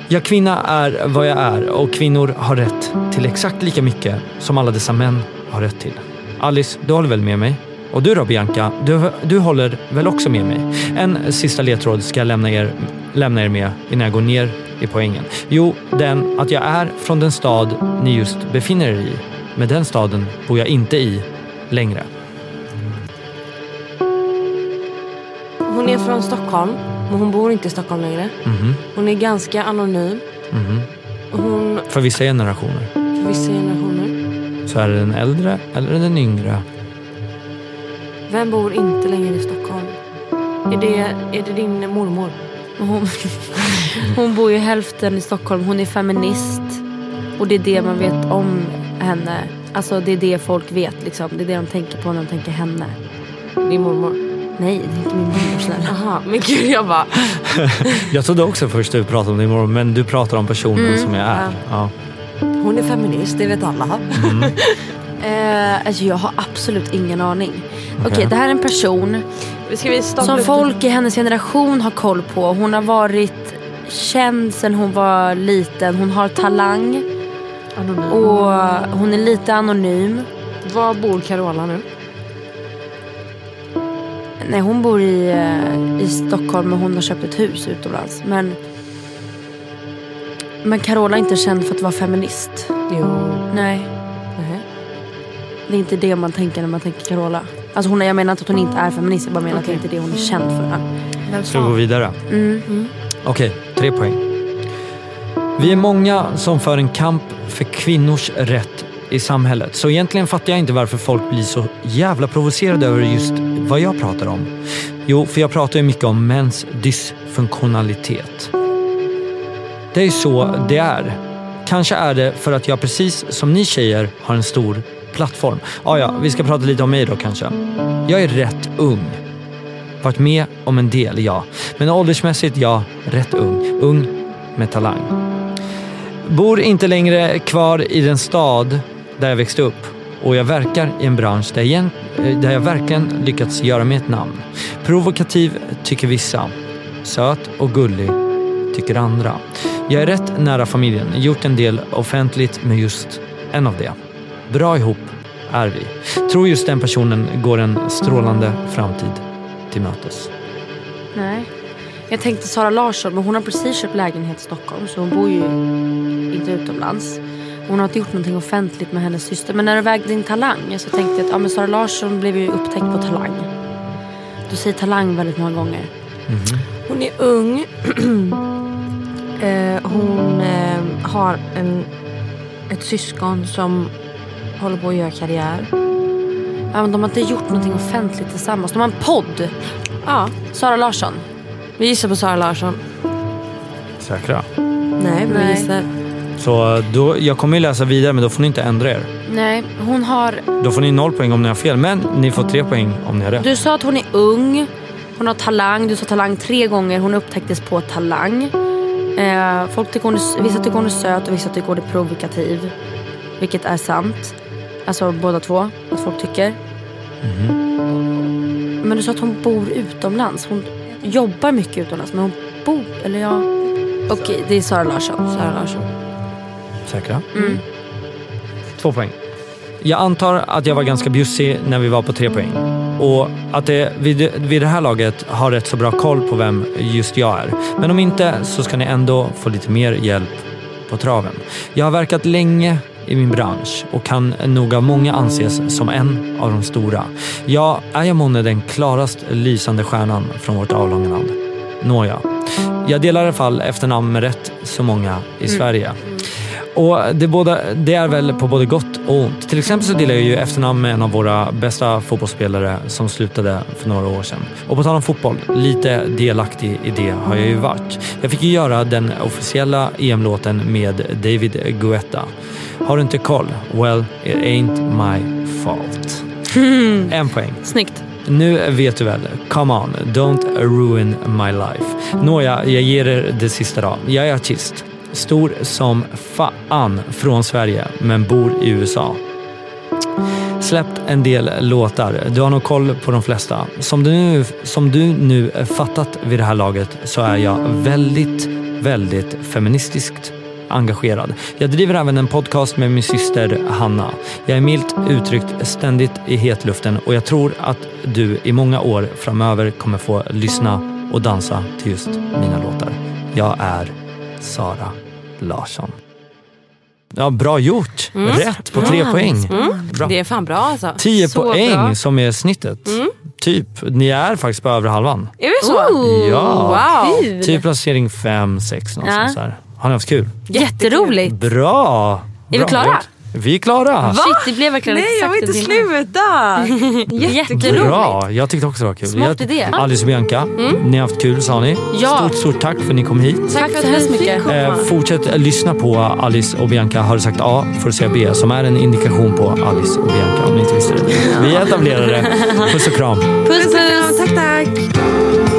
Speaker 1: Ja, kvinna är vad jag är och kvinnor har rätt till exakt lika mycket som alla dessa män har rätt till. Alice, du håller väl med mig? Och du då Bianca, du, du håller väl också med mig? En sista ledtråd ska jag lämna er, lämna er med innan jag går ner i poängen. Jo, den att jag är från den stad ni just befinner er i. Men den staden bor jag inte i längre.
Speaker 2: Hon är från Stockholm, men hon bor inte i Stockholm längre.
Speaker 1: Mhm,
Speaker 2: Hon är ganska anonym.
Speaker 1: mhm.
Speaker 2: Hon,
Speaker 1: För vissa generationer
Speaker 2: för vissa generationer.
Speaker 1: så är det den äldre eller den yngre.
Speaker 2: Vem bor inte längre i Stockholm? Är det, är det din mormor?
Speaker 3: Hon, hon bor ju hälften i Stockholm. Hon är feminist. Och det är det man vet om henne. Alltså det är det folk vet liksom. Det är det de tänker på när de tänker henne.
Speaker 2: Din mormor?
Speaker 3: Nej, det är inte min mormor snälla.
Speaker 2: Aha, men gud jag bara...
Speaker 1: Jag trodde också först du pratade om din mormor, men du pratar om personen som jag är. Ja.
Speaker 2: Hon är feminist, det vet alla.
Speaker 3: Eh, alltså jag har absolut ingen aning. Okej, det här är en person
Speaker 2: Ska vi stapla
Speaker 3: som
Speaker 2: upp-
Speaker 3: folk i hennes generation har koll på. Hon har varit känd sen hon var liten. Hon har talang
Speaker 2: Anonym.
Speaker 3: och hon är lite anonym.
Speaker 2: Var bor Carola nu?
Speaker 3: Nej, hon bor i, eh, i Stockholm och hon har köpt ett hus utomlands. Men, men Carola är inte känd för att vara feminist.
Speaker 2: Jo.
Speaker 3: Nej,
Speaker 2: Nähä.
Speaker 3: det är inte det man tänker när man tänker Carola. Alltså hon, är- jag menar inte att hon inte är feminist, jag bara menar att det inte är det hon är känd för.
Speaker 1: Ska vi gå vidare? Okej, tre poäng. Vi är många som för en kamp för kvinnors rätt i samhället. Så egentligen fattar jag inte varför folk blir så jävla provocerade över just vad jag pratar om. Jo, för jag pratar ju mycket om mäns dysfunktionalitet. Det är ju så det är. Kanske är det för att jag precis som ni tjejer har en stor plattform. Ah, ja, vi ska prata lite om mig då kanske. Jag är rätt ung. Varit med om en del, ja. Men åldersmässigt, ja, rätt ung. Ung med talang. Bor inte längre kvar i den stad där jag växte upp och jag verkar i en bransch där, igen, eh, där jag verkligen lyckats göra mig ett namn. Provokativ tycker vissa. Söt och gullig tycker andra. Jag är rätt nära familjen, gjort en del offentligt med just en av det. Bra ihop är vi. Tror just den personen går en strålande framtid till mötes.
Speaker 3: Nej. Jag tänkte Sara Larsson, men hon har precis köpt lägenhet i Stockholm så hon bor ju inte utomlands. Hon har inte gjort någonting offentligt med hennes syster. Men när du vägde in talang så tänkte jag att ja, men Sara Larsson blev ju upptäckt på talang. Du säger talang väldigt många gånger.
Speaker 2: Hon är ung. eh, hon eh, har en, ett syskon som håller på att göra karriär.
Speaker 3: Ja, men de har inte gjort någonting offentligt tillsammans. De har en podd.
Speaker 2: Ja,
Speaker 3: Sara Larsson.
Speaker 2: vi gissar på Sara Larsson.
Speaker 1: Säkra.
Speaker 2: Nej, men vi
Speaker 3: Nej.
Speaker 2: gissar.
Speaker 1: Så då, jag kommer ju läsa vidare, men då får ni inte ändra er.
Speaker 3: Nej, hon har...
Speaker 1: Då får ni noll poäng om ni har fel, men ni får tre poäng om ni har rätt.
Speaker 3: Du sa att hon är ung. Hon har talang. Du sa talang tre gånger. Hon upptäcktes på talang. Eh, folk tycker hon är, vissa tycker hon är söt och vissa tycker hon är provokativ. Vilket är sant. Alltså båda två, att folk tycker. Men du sa att hon bor utomlands. Hon jobbar mycket utomlands men hon bor, eller ja. Okej, det är Sara Larsson. Sara Larsson.
Speaker 1: Säkra? Två poäng. Jag antar att jag var ganska bjussig när vi var på tre poäng. Och att det vid, vid det här laget har rätt så bra koll på vem just jag är. Men om inte så ska ni ändå få lite mer hjälp på traven. Jag har verkat länge i min bransch och kan nog av många anses som en av de stora. Jag är jag månne den klarast lysande stjärnan från vårt avlånga land. Nåja. Jag delar i alla fall efternamn med rätt så många i Sverige. Och det, båda, det är väl på både gott och ont. Till exempel så delar jag ju efternamn med en av våra bästa fotbollsspelare som slutade för några år sedan. Och på tal om fotboll, lite delaktig i det har jag ju varit. Jag fick ju göra den officiella EM-låten med David Guetta. Har du inte koll? Well, it ain't my fault. En poäng.
Speaker 3: Snyggt.
Speaker 1: Nu vet du väl. Come on, don't ruin my life. Nåja, jag ger er det sista då. Jag är artist. Stor som fan från Sverige, men bor i USA. Släppt en del låtar. Du har nog koll på de flesta. Som du, nu, som du nu fattat vid det här laget så är jag väldigt, väldigt feministiskt engagerad. Jag driver även en podcast med min syster Hanna. Jag är milt uttryckt ständigt i hetluften och jag tror att du i många år framöver kommer få lyssna och dansa till just mina låtar. Jag är Sara Larsson. Ja, bra gjort! Rätt på tre
Speaker 3: Bra.
Speaker 1: poäng. Bra.
Speaker 2: Det är fan bra alltså.
Speaker 1: 10
Speaker 2: Så
Speaker 1: poäng
Speaker 2: bra.
Speaker 1: som är snittet.
Speaker 3: Mm.
Speaker 1: Typ. Ni är faktiskt på övre halvan.
Speaker 2: Är vi så?
Speaker 3: Ooh,
Speaker 1: Ja.
Speaker 2: Wow.
Speaker 3: Kul.
Speaker 1: Typ placering 5, 6 någonstans
Speaker 3: Ja.
Speaker 1: där. Har ni haft kul?
Speaker 3: Jätteroligt.
Speaker 1: Bra! bra
Speaker 3: vi klara?
Speaker 1: gjort. Vi är klara.
Speaker 3: Shit, det blev verkligen
Speaker 2: Nej, jag
Speaker 3: exakt
Speaker 2: vill inte
Speaker 3: det
Speaker 2: sluta.
Speaker 3: till. Jätteroligt.
Speaker 1: Bra! Jag tyckte också det var kul.
Speaker 3: Smart
Speaker 1: jag,
Speaker 3: idé. Mm.
Speaker 1: Alice och Bianca, ni har haft kul sa ni.
Speaker 3: Ja.
Speaker 1: Stort, stort tack för att ni kom hit.
Speaker 3: Tack så hemskt mycket.
Speaker 1: Eh, fortsätt lyssna på Alice och Bianca har du sagt A för att säga B som är en indikation på Alice och Bianca om ni inte visste det. Vi är etablerade. Puss och kram.
Speaker 3: Puss puss.
Speaker 2: Tack, tack.
Speaker 7: Ooh,